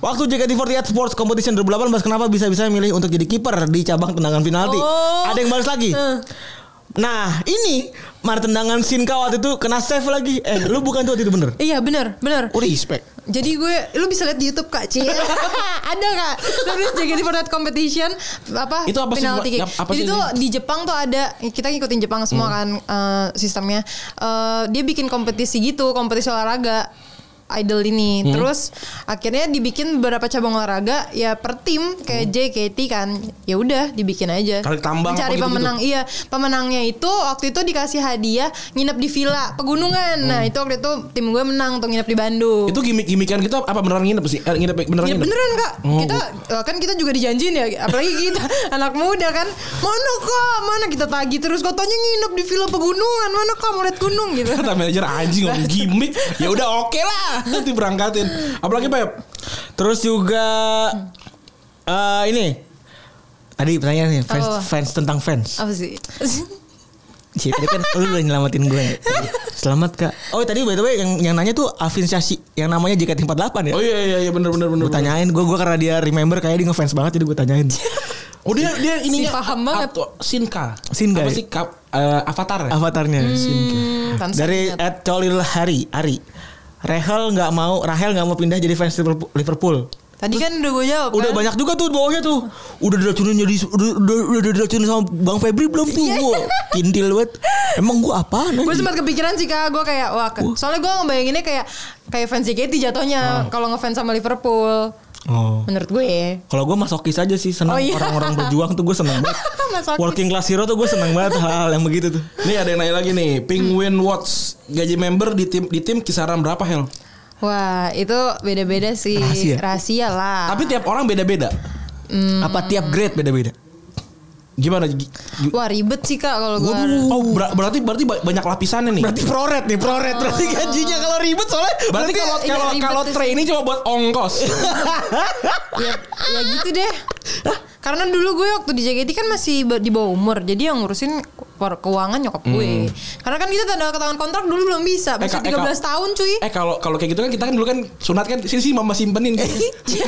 D: Waktu JKT48 Sports Competition 2018 kenapa bisa-bisa milih untuk jadi kiper di cabang tendangan penalti?
C: Oh.
D: Ada yang balas lagi.
C: Eh.
D: Nah, ini Mar tendangan Sinka waktu itu kena save lagi. Eh, lu bukan tuh waktu itu bener.
C: iya benar benar
D: Oh, respect.
C: Jadi gue lu bisa lihat di YouTube Kak Cie. ada Kak. Terus jadi Fortnite competition apa
B: Itu apa sih?
C: penalti kick.
B: Apa
C: Jadi
B: sih Hmm.
C: tuh di Jepang tuh ada kita ngikutin Jepang semua kan eh, sistemnya. Eh, dia bikin kompetisi gitu, kompetisi olahraga idol ini.
B: Hmm.
C: Terus akhirnya dibikin beberapa cabang olahraga ya per tim kayak JKT kan. Ya udah dibikin aja.
B: Tarik Hmm. tambang apa
C: Cari
B: gitu-gitu?
C: pemenang Iya, pemenangnya itu waktu itu dikasih hadiah nginep di villa pegunungan.
B: Hmm.
C: Nah, itu waktu itu tim gue menang tuh nginep di Bandung.
B: Itu gimmick-gimmickan gitu apa beneran nginep sih? Eh, nginep beneran
C: Ya
B: nginep.
C: beneran kak
B: Oh,
C: Kita eh, Kan kita juga dijanjin ya Apalagi kita Anak muda kan Mana kak Mana kita tagih terus Katanya nginep di villa pegunungan Mana kak mau lihat gunung gitu
B: Kata manajer anjing ngomong gimmick. Ya udah oke lah. Nanti berangkatin. Apalagi Pep.
D: Terus juga eh ini Tadi pertanyaan nih fans,
C: Apa?
D: fans tentang fans.
C: Apa sih
D: Cie, tadi kan lu udah nyelamatin gue. Selamat kak. Oh tadi by the way yang, yang nanya tuh afiliasi yang namanya JKT48 ya.
B: Oh iya iya iya bener bener bener.
D: Gue tanyain gue gue karena dia remember kayak dia ngefans banget jadi gue tanyain.
B: Oh dia dia ininya
C: Si paham banget.
B: atau Sinka. Apa
D: Sinka, ya?
B: sih kap, eh, avatar ya?
D: Avatarnya.
C: Hmm, pantes
D: Dari
C: ingat.
D: at Colil Hari Ari. Rahel nggak mau Rahel nggak mau pindah jadi fans Liverpool- Liverpool.
C: Tadi kan udah gue jawab
D: Udah
C: kan?
D: banyak juga tuh di bawahnya tuh. Udah diracunin jadi udah udah, udah diracunin sama Bang Febri belum tuh
C: Iya.
D: gua. Kintil banget. Emang gua apaan
C: Gue
D: anjing?
C: sempat kepikiran sih kak Gue kayak Wah ke- Soalnya gue ngebayanginnya kayak Kayak fans JKT
D: Ah.
C: jatuhnya Kalau ngefans sama Liverpool
D: Oh.
C: Menurut gue ya
D: Kalau gue masokis aja sih senang
C: Oh, iya.
D: orang-orang berjuang tuh gue senang banget.
C: Masokis.
D: Working class hero tuh gue senang banget hal-hal yang begitu tuh.
B: Nih ada yang nanya lagi nih, Penguin Watch gaji member di tim di tim kisaran berapa Hel?
C: Wah itu beda-beda sih
D: Rahasia.
C: Rahasia lah Hmm,
B: Tapi tiap orang beda-beda.
D: Apa tiap grade beda-beda?
B: Gimana? Gi- gi-
C: Wah ribet sih kak kalau gue.
B: Oh, ber- berarti berarti ba- banyak lapisannya nih. Ah.
D: Berarti proret nih, proret. Berarti gajinya kalau ribet soalnya
B: Berarti
D: berarti
B: kalau
C: iya,
B: kalau
C: ribet
B: kalau
C: tuh
B: tray ini cuma buat ongkos.
C: ya, ya gitu deh. Karena dulu gue waktu di JKT kan masih ba- di bawah umur, jadi yang ngurusin ke- keuangan nyokap gue. Karena kan kita tanda tangan kontrak dulu belum bisa,
B: Hmm. Eh,
C: masih
B: Kak, eh, Kak.
C: 13 tahun cuy.
B: eh kalau kalau kayak gitu kan kita kan dulu kan sunat kan sini sih mama simpenin kan.
C: Iya.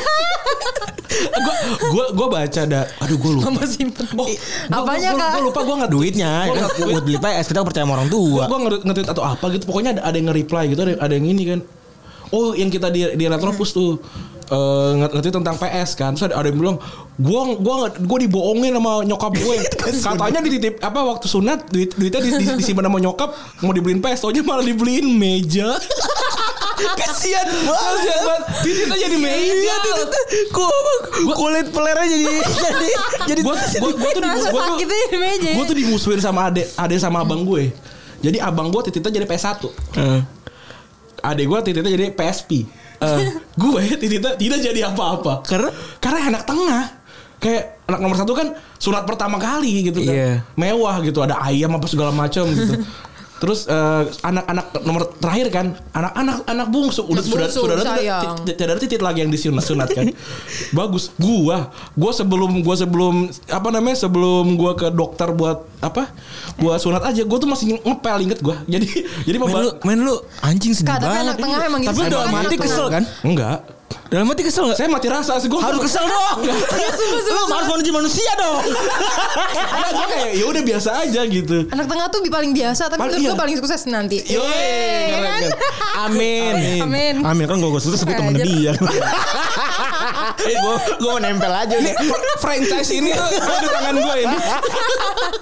B: Gue gue gue baca ada aduh gue lupa.
C: Mama simpen.
B: Oh,
C: Apanya, Kak?
B: Gue lupa gue nggak duitnya.
D: Gua
B: ya kan?
D: nggak buat beli PS kita percaya sama orang tua.
B: gue nge-tweet atau apa gitu pokoknya ada, ada yang nge-reply gitu ada, ada yang ini kan oh yang kita di di Retropus tuh eh nge- nge-tweet tentang PS kan terus ada, ada yang bilang gua gua nggak- gua dibohongin sama nyokap gue
D: kan
B: katanya dititip apa waktu sunat duit duitnya di, di- disimpan sama nyokap mau dibeliin PS taunya malah dibeliin meja
D: Kasihan banget.
B: Kasian banget. Tititnya jadi meja
D: Iya, titiknya. Kok kulit pelernya jadi jadi jadi
B: gue gue gue tuh
C: Rasa
B: dimus- gua tuh
C: sakitnya di meja.
B: gue tuh dimusuhin sama ade ade sama abang gue jadi abang gue tititnya jadi PS 1
D: Eh.
B: adek gue tititnya jadi PSP. Eh, gue tititnya tidak jadi apa-apa.
D: Karena?
B: karena anak tengah. Kayak anak nomor satu kan surat pertama kali gitu kan.
D: Iya.
B: Mewah gitu, ada ayam apa segala macam gitu. Terus eh, anak-anak nomor terakhir kan, anak-anak anak bungsu udah
C: Anak bungsu,
B: sudah
C: sayang.
B: saudara titit lagi yang disunat sunat kan. Bagus. Gua gua sebelum gua sebelum apa namanya? Sebelum gua ke dokter buat apa? Buat sunat aja gua tuh masih ngepel inget gua. Jadi jadi
D: Main lu,
B: pemba-
D: main lu anjing sedih
C: Kak, tapi
D: banget.
C: anak tengah emang gitu.
D: Tapi
C: Emang
D: dalam
C: anak
D: hati
C: tengah.
D: kesel kan?
B: Enggak.
D: Dalam hati kesel gak?
B: Saya mati rasa sih gue
D: harus kesel dong. Lu harus menuju manusia dong. Iya,
B: gue kayak ya udah biasa aja gitu.
C: Anak tengah tuh bi- paling biasa, tapi
B: Paling-
C: menurut gue
B: iya.
C: paling sukses nanti.
D: Iya,
B: Yeay,
C: Yeay,
B: keren,
C: kan?
B: keren.
D: Amin.
C: Amin.
D: Amin kan gue gue terus gue temen dia. Gue gue mau nempel aja
B: Ini fr- franchise ini tuh ada tangan gue ini.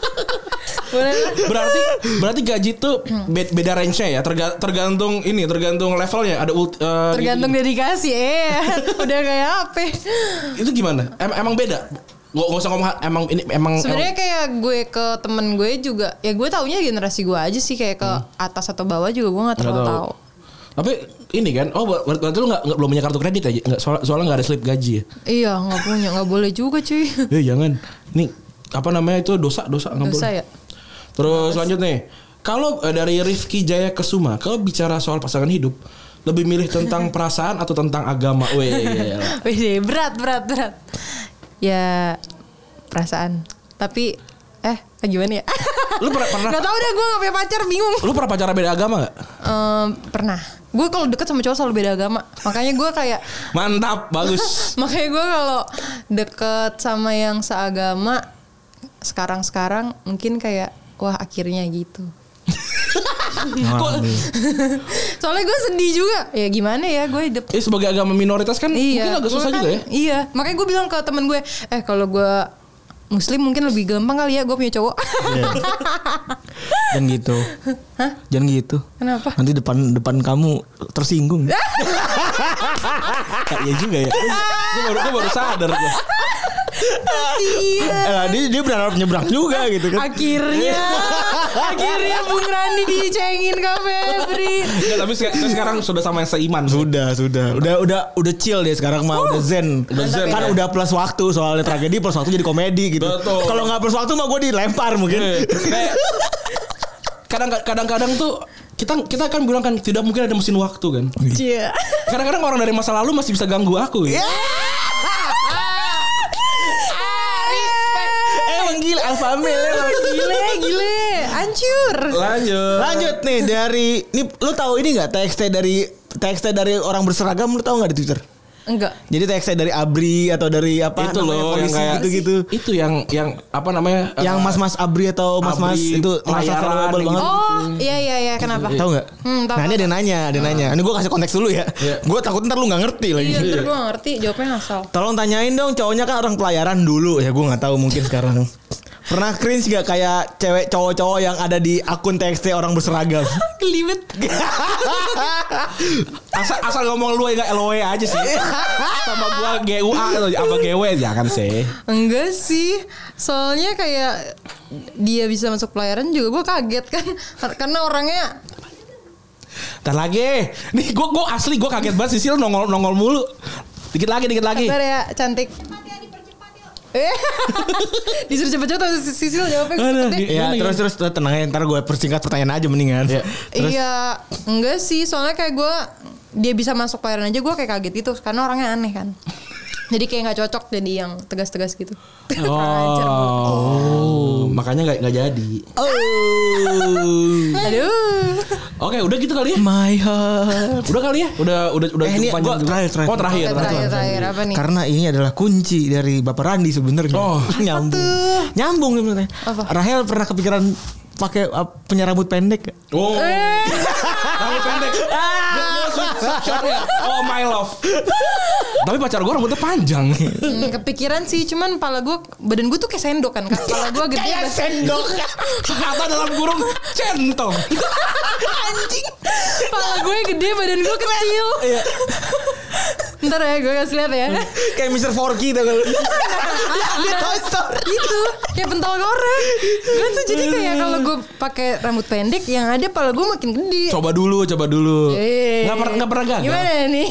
C: Boleh lah.
B: Berarti berarti gaji tuh be- beda range-nya ya, terga- tergantung ini, tergantung levelnya. Ada ult- eh,
C: Tergantung dedikasi, eh udah kayak apa?
B: gitu. itu gimana? Em- emang beda. Gak, gak usah ngomong ha- emang ini emang
C: Sebenarnya kayak gue ke temen gue juga, ya gue taunya generasi gue aja sih kayak ke atas atau bawah juga gue nggak
B: Hmm. Nggak
C: terlalu
B: tahu.
C: tahu.
B: tapi ini kan oh ber- ber- berarti lu gak, belum punya kartu kredit ya Nggak, soal- soalnya nggak ada slip gaji ya
C: Iya nggak punya, nggak boleh juga cuy.
B: eh jangan nih apa namanya itu dosa dosa nggak boleh.
C: Iya, Dosa ya.
B: Terus lanjut nih. Kalau eh, dari Rifki Jaya Kesuma, kalau bicara soal pasangan hidup, lebih milih tentang perasaan atau tentang agama? Weh, iya, iyalah.
C: Wih, berat, berat, berat. Ya perasaan. Tapi eh gimana ya?
B: Lu pernah- pernah-
C: Gak tau deh gue gak punya pacar bingung.
B: lu pernah pacaran beda agama gak?
C: Em, pernah. Gue kalau deket sama cowok selalu beda agama. Makanya gue kayak
B: Mantap, bagus.
C: Makanya gue kalau deket sama yang seagama sekarang-sekarang mungkin kayak wah akhirnya gitu. Soalnya gue sedih juga. Ya gimana ya gue hidup.
B: Eh sebagai agama minoritas kan
C: Iya.
B: mungkin agak
C: gua
B: susah
C: kan-
B: juga ya.
C: Iya. Makanya gue bilang ke temen gue, eh kalau gue Muslim mungkin lebih gampang kali ya gue punya cowok.
D: Jangan gitu. Jangan gitu.
C: Kenapa?
D: Nanti depan depan kamu tersinggung.
B: Iya juga ya. Gue baru gue baru sadar gua.
C: iya.
D: Eh, dia dia berharap nyebrang juga gitu kan.
C: Akhirnya, akhirnya Bung Randi dicengin ke Febri.
B: Enggak, tapi se- saya sekarang sudah sama yang seiman.
D: Sudah, sudah. Udah udah udah chill deh sekarang mah udah zen.
B: Udah zen, ya.
D: Kan udah plus waktu soalnya tragedi plus waktu jadi komedi gitu.
B: Betul. Iya,
D: Kalau nggak plus waktu mah gue dilempar mungkin.
B: Kayak- kadang kadang-kadang tuh kita kita kan bilang kan tidak mungkin ada mesin waktu kan.
C: Iya.
B: Kadang-kadang orang dari masa lalu masih bisa ganggu aku ya.
D: Iya. Eh, Emang gila alpha male emang.
C: Gile, gile, hancur.
B: Lanjut.
D: Lanjut nih dari nih lu tahu ini nggak TXT dari TXT dari orang berseragam lu tahu nggak di Twitter?
C: Enggak.
D: Jadi TXT dari Abri atau dari apa
B: itu
D: namanya,
B: loh yang
D: polisi
B: kayak
D: gitu-gitu.
B: Itu yang yang apa namanya?
D: Yang
B: eh,
D: mas-mas Abri atau mas-mas
B: Abri,
D: itu masa
B: layaran,
D: valuable
B: yang
D: banget.
C: Oh, iya iya iya, kenapa?
D: Tahu nggak?
C: Hmm, tahu,
D: nah ini
C: tahu.
D: ada yang nanya, ada yang nanya. Ini gue kasih konteks dulu ya.
B: Ah. Iya.
D: Gue takut ntar lu nggak ngerti lagi.
C: Iya, ntar gue ngerti jawabnya asal.
D: Tolong tanyain dong, cowoknya kan orang pelayaran dulu ya. Gue nggak tahu mungkin sekarang. Pernah cringe gak kayak cewek cowok-cowok yang ada di akun TXT orang berseragam?
C: Kelibet.
B: asal asal ngomong lu enggak LOE aja sih.
D: Iya.
B: Sama gua GUA atau apa GW jangan sih.
C: Enggak sih. Soalnya kayak dia bisa masuk pelayaran juga gue kaget kan karena orangnya
B: Entar lagi. Nih gua gua asli gua kaget banget Sisil nongol nongol mulu. Dikit lagi, dikit lagi.
C: sabar ya cantik. Eh, Disuruh cepet-cepet terus Sisil jawabnya gue
B: Aduh,
C: cepet deh.
B: di-
D: Ya
B: Iya, Gimana,
D: terus terus tenang aja ntar gue persingkat pertanyaan aja mendingan.
B: Iya.
D: Terus
C: Iya, enggak sih. Soalnya kayak gue dia bisa masuk pelayaran aja gue kayak kaget gitu karena orangnya aneh kan. jadi kayak nggak cocok jadi yang tegas-tegas gitu. Ajar banget.
B: Oh, makanya nggak nggak jadi.
D: Oh
C: Aduh.
B: Oke, udah gitu kali ya.
D: my heart.
B: Udah kali ya. Udah udah udah
D: Eh,
B: cukup
D: ini
B: panjang
D: gua
B: juga.
D: terakhir, terakhir.
B: Oh terakhir.
C: Terakhir,
B: terakhir.
C: terakhir apa nih?
D: Karena ini adalah kunci dari Bapak Randi sebenarnya.
B: Oh.
D: nyambung.
C: tuh?
D: Nyambung sebenarnya.
C: Apa?
D: Rahel pernah kepikiran pakai uh, punya rambut pendek gak?
B: Oh,
C: Eh,
B: rambut pendek. Shortnya, oh my love. Tapi pacar gue rambutnya panjang.
C: hmm, kepikiran sih, cuman pala gue badan gue tuh kayak sendok kan. Kak. Pala gue gede
B: Kayak sendok. Atau dalam kurung centong.
C: Pala gue gede, badan gue kecil.
B: Iya.
C: Ntar ya gue kasih lihat ya.
B: Hmm.
D: Kayak Mr. Forky tau gak lu?
C: Ah,
D: Dia Toy Story.
C: gitu kayak pentol goreng
B: Gitu.
C: gue tuh jadi
B: Hmm.
C: kayak kalau gue pakai rambut pendek yang ada pala gue makin gede
B: Coba dulu, coba dulu.
C: Eh.
B: Nggak pernah nggak pernah gagal.
C: Gimana nih?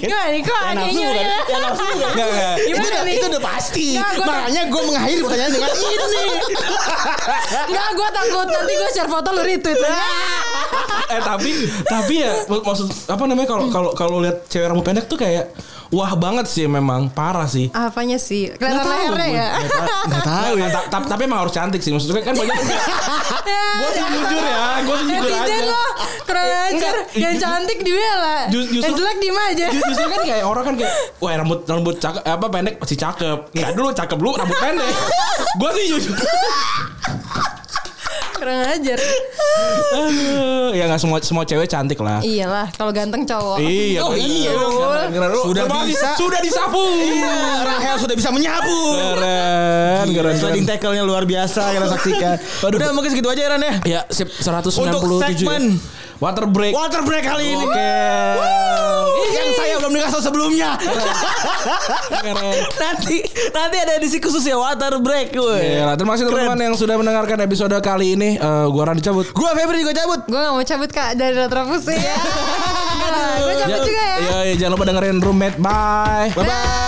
C: Gimana nih? Kok
D: Ya,
C: adanya
D: nafsu
B: kan?
D: bukan?
C: ya?
D: Ya, nafsu bukan?
B: Nggak, nggak.
D: Itu
C: Gimana
D: udah,
C: nih?
D: itu udah pasti.
C: Nggak, gua-
D: Makanya gue
C: Kan
D: mengakhiri pertanyaan dengan ini.
C: Enggak, gue takut nanti gue share foto lu retweet.
B: eh tapi tapi ya mak- maksud apa namanya kalau kalau kalau lihat cewek rambut pendek tuh kayak wah banget sih memang parah sih.
C: Apanya sih? Kelihatan
B: Nggak tahu
C: lehernya
B: gue.
C: ya?
B: Nggak tahu.
D: Gak tahu ya.
B: Nah, ta- ta- tapi emang harus cantik sih maksudnya kan banyak gue sih jujur ya gue sih jujur aja
C: Netizen lo
B: Eh,
C: Kurang ajar Yang cantik dibela
B: Ju- justru-
C: Yang jelek diem aja
B: Ju- justru kan kayak orang kan kayak wah rambut rambut cakep apa pendek pasti cakep nggak dulu cakep dulu rambut pendek gue sih jujur
C: Kurang ajar
B: Aduh, ya nggak semua semua cewek cantik lah
C: Iyalah Kalau ganteng cowok
B: Iya,
D: Iya. Oh,
B: bener.
D: iya dong.
B: Keren, keren. Lu-
D: Sudah
B: terima kasih.
D: bisa. Iya,
B: sudah disapu.
D: Rahel sudah bisa menyapu.
B: Keren, keren, keren.
D: Sliding tackle-nya luar biasa kita saksikan.
B: kan. Waduh.
D: Udah mungkin segitu aja Ran ya.
B: Ya, sip 197.
D: Untuk segmen
B: ya. Water break.
D: Water break kali ini.
B: Oke.
D: Yang saya belum dikasih sebelumnya.
B: Keren.
D: nanti nanti ada edisi khusus ya water break gue.
B: Ya, terima kasih teman-teman yang sudah mendengarkan episode kali ini. Eh, gua Randy cabut.
D: Gue Febri juga cabut.
C: Gue gak mau cabut kak Dari Iya. retrofus ya Gue cabut juga ya
B: Iya, iya, jangan lupa dengerin roommate. Bye.
D: Bye bye.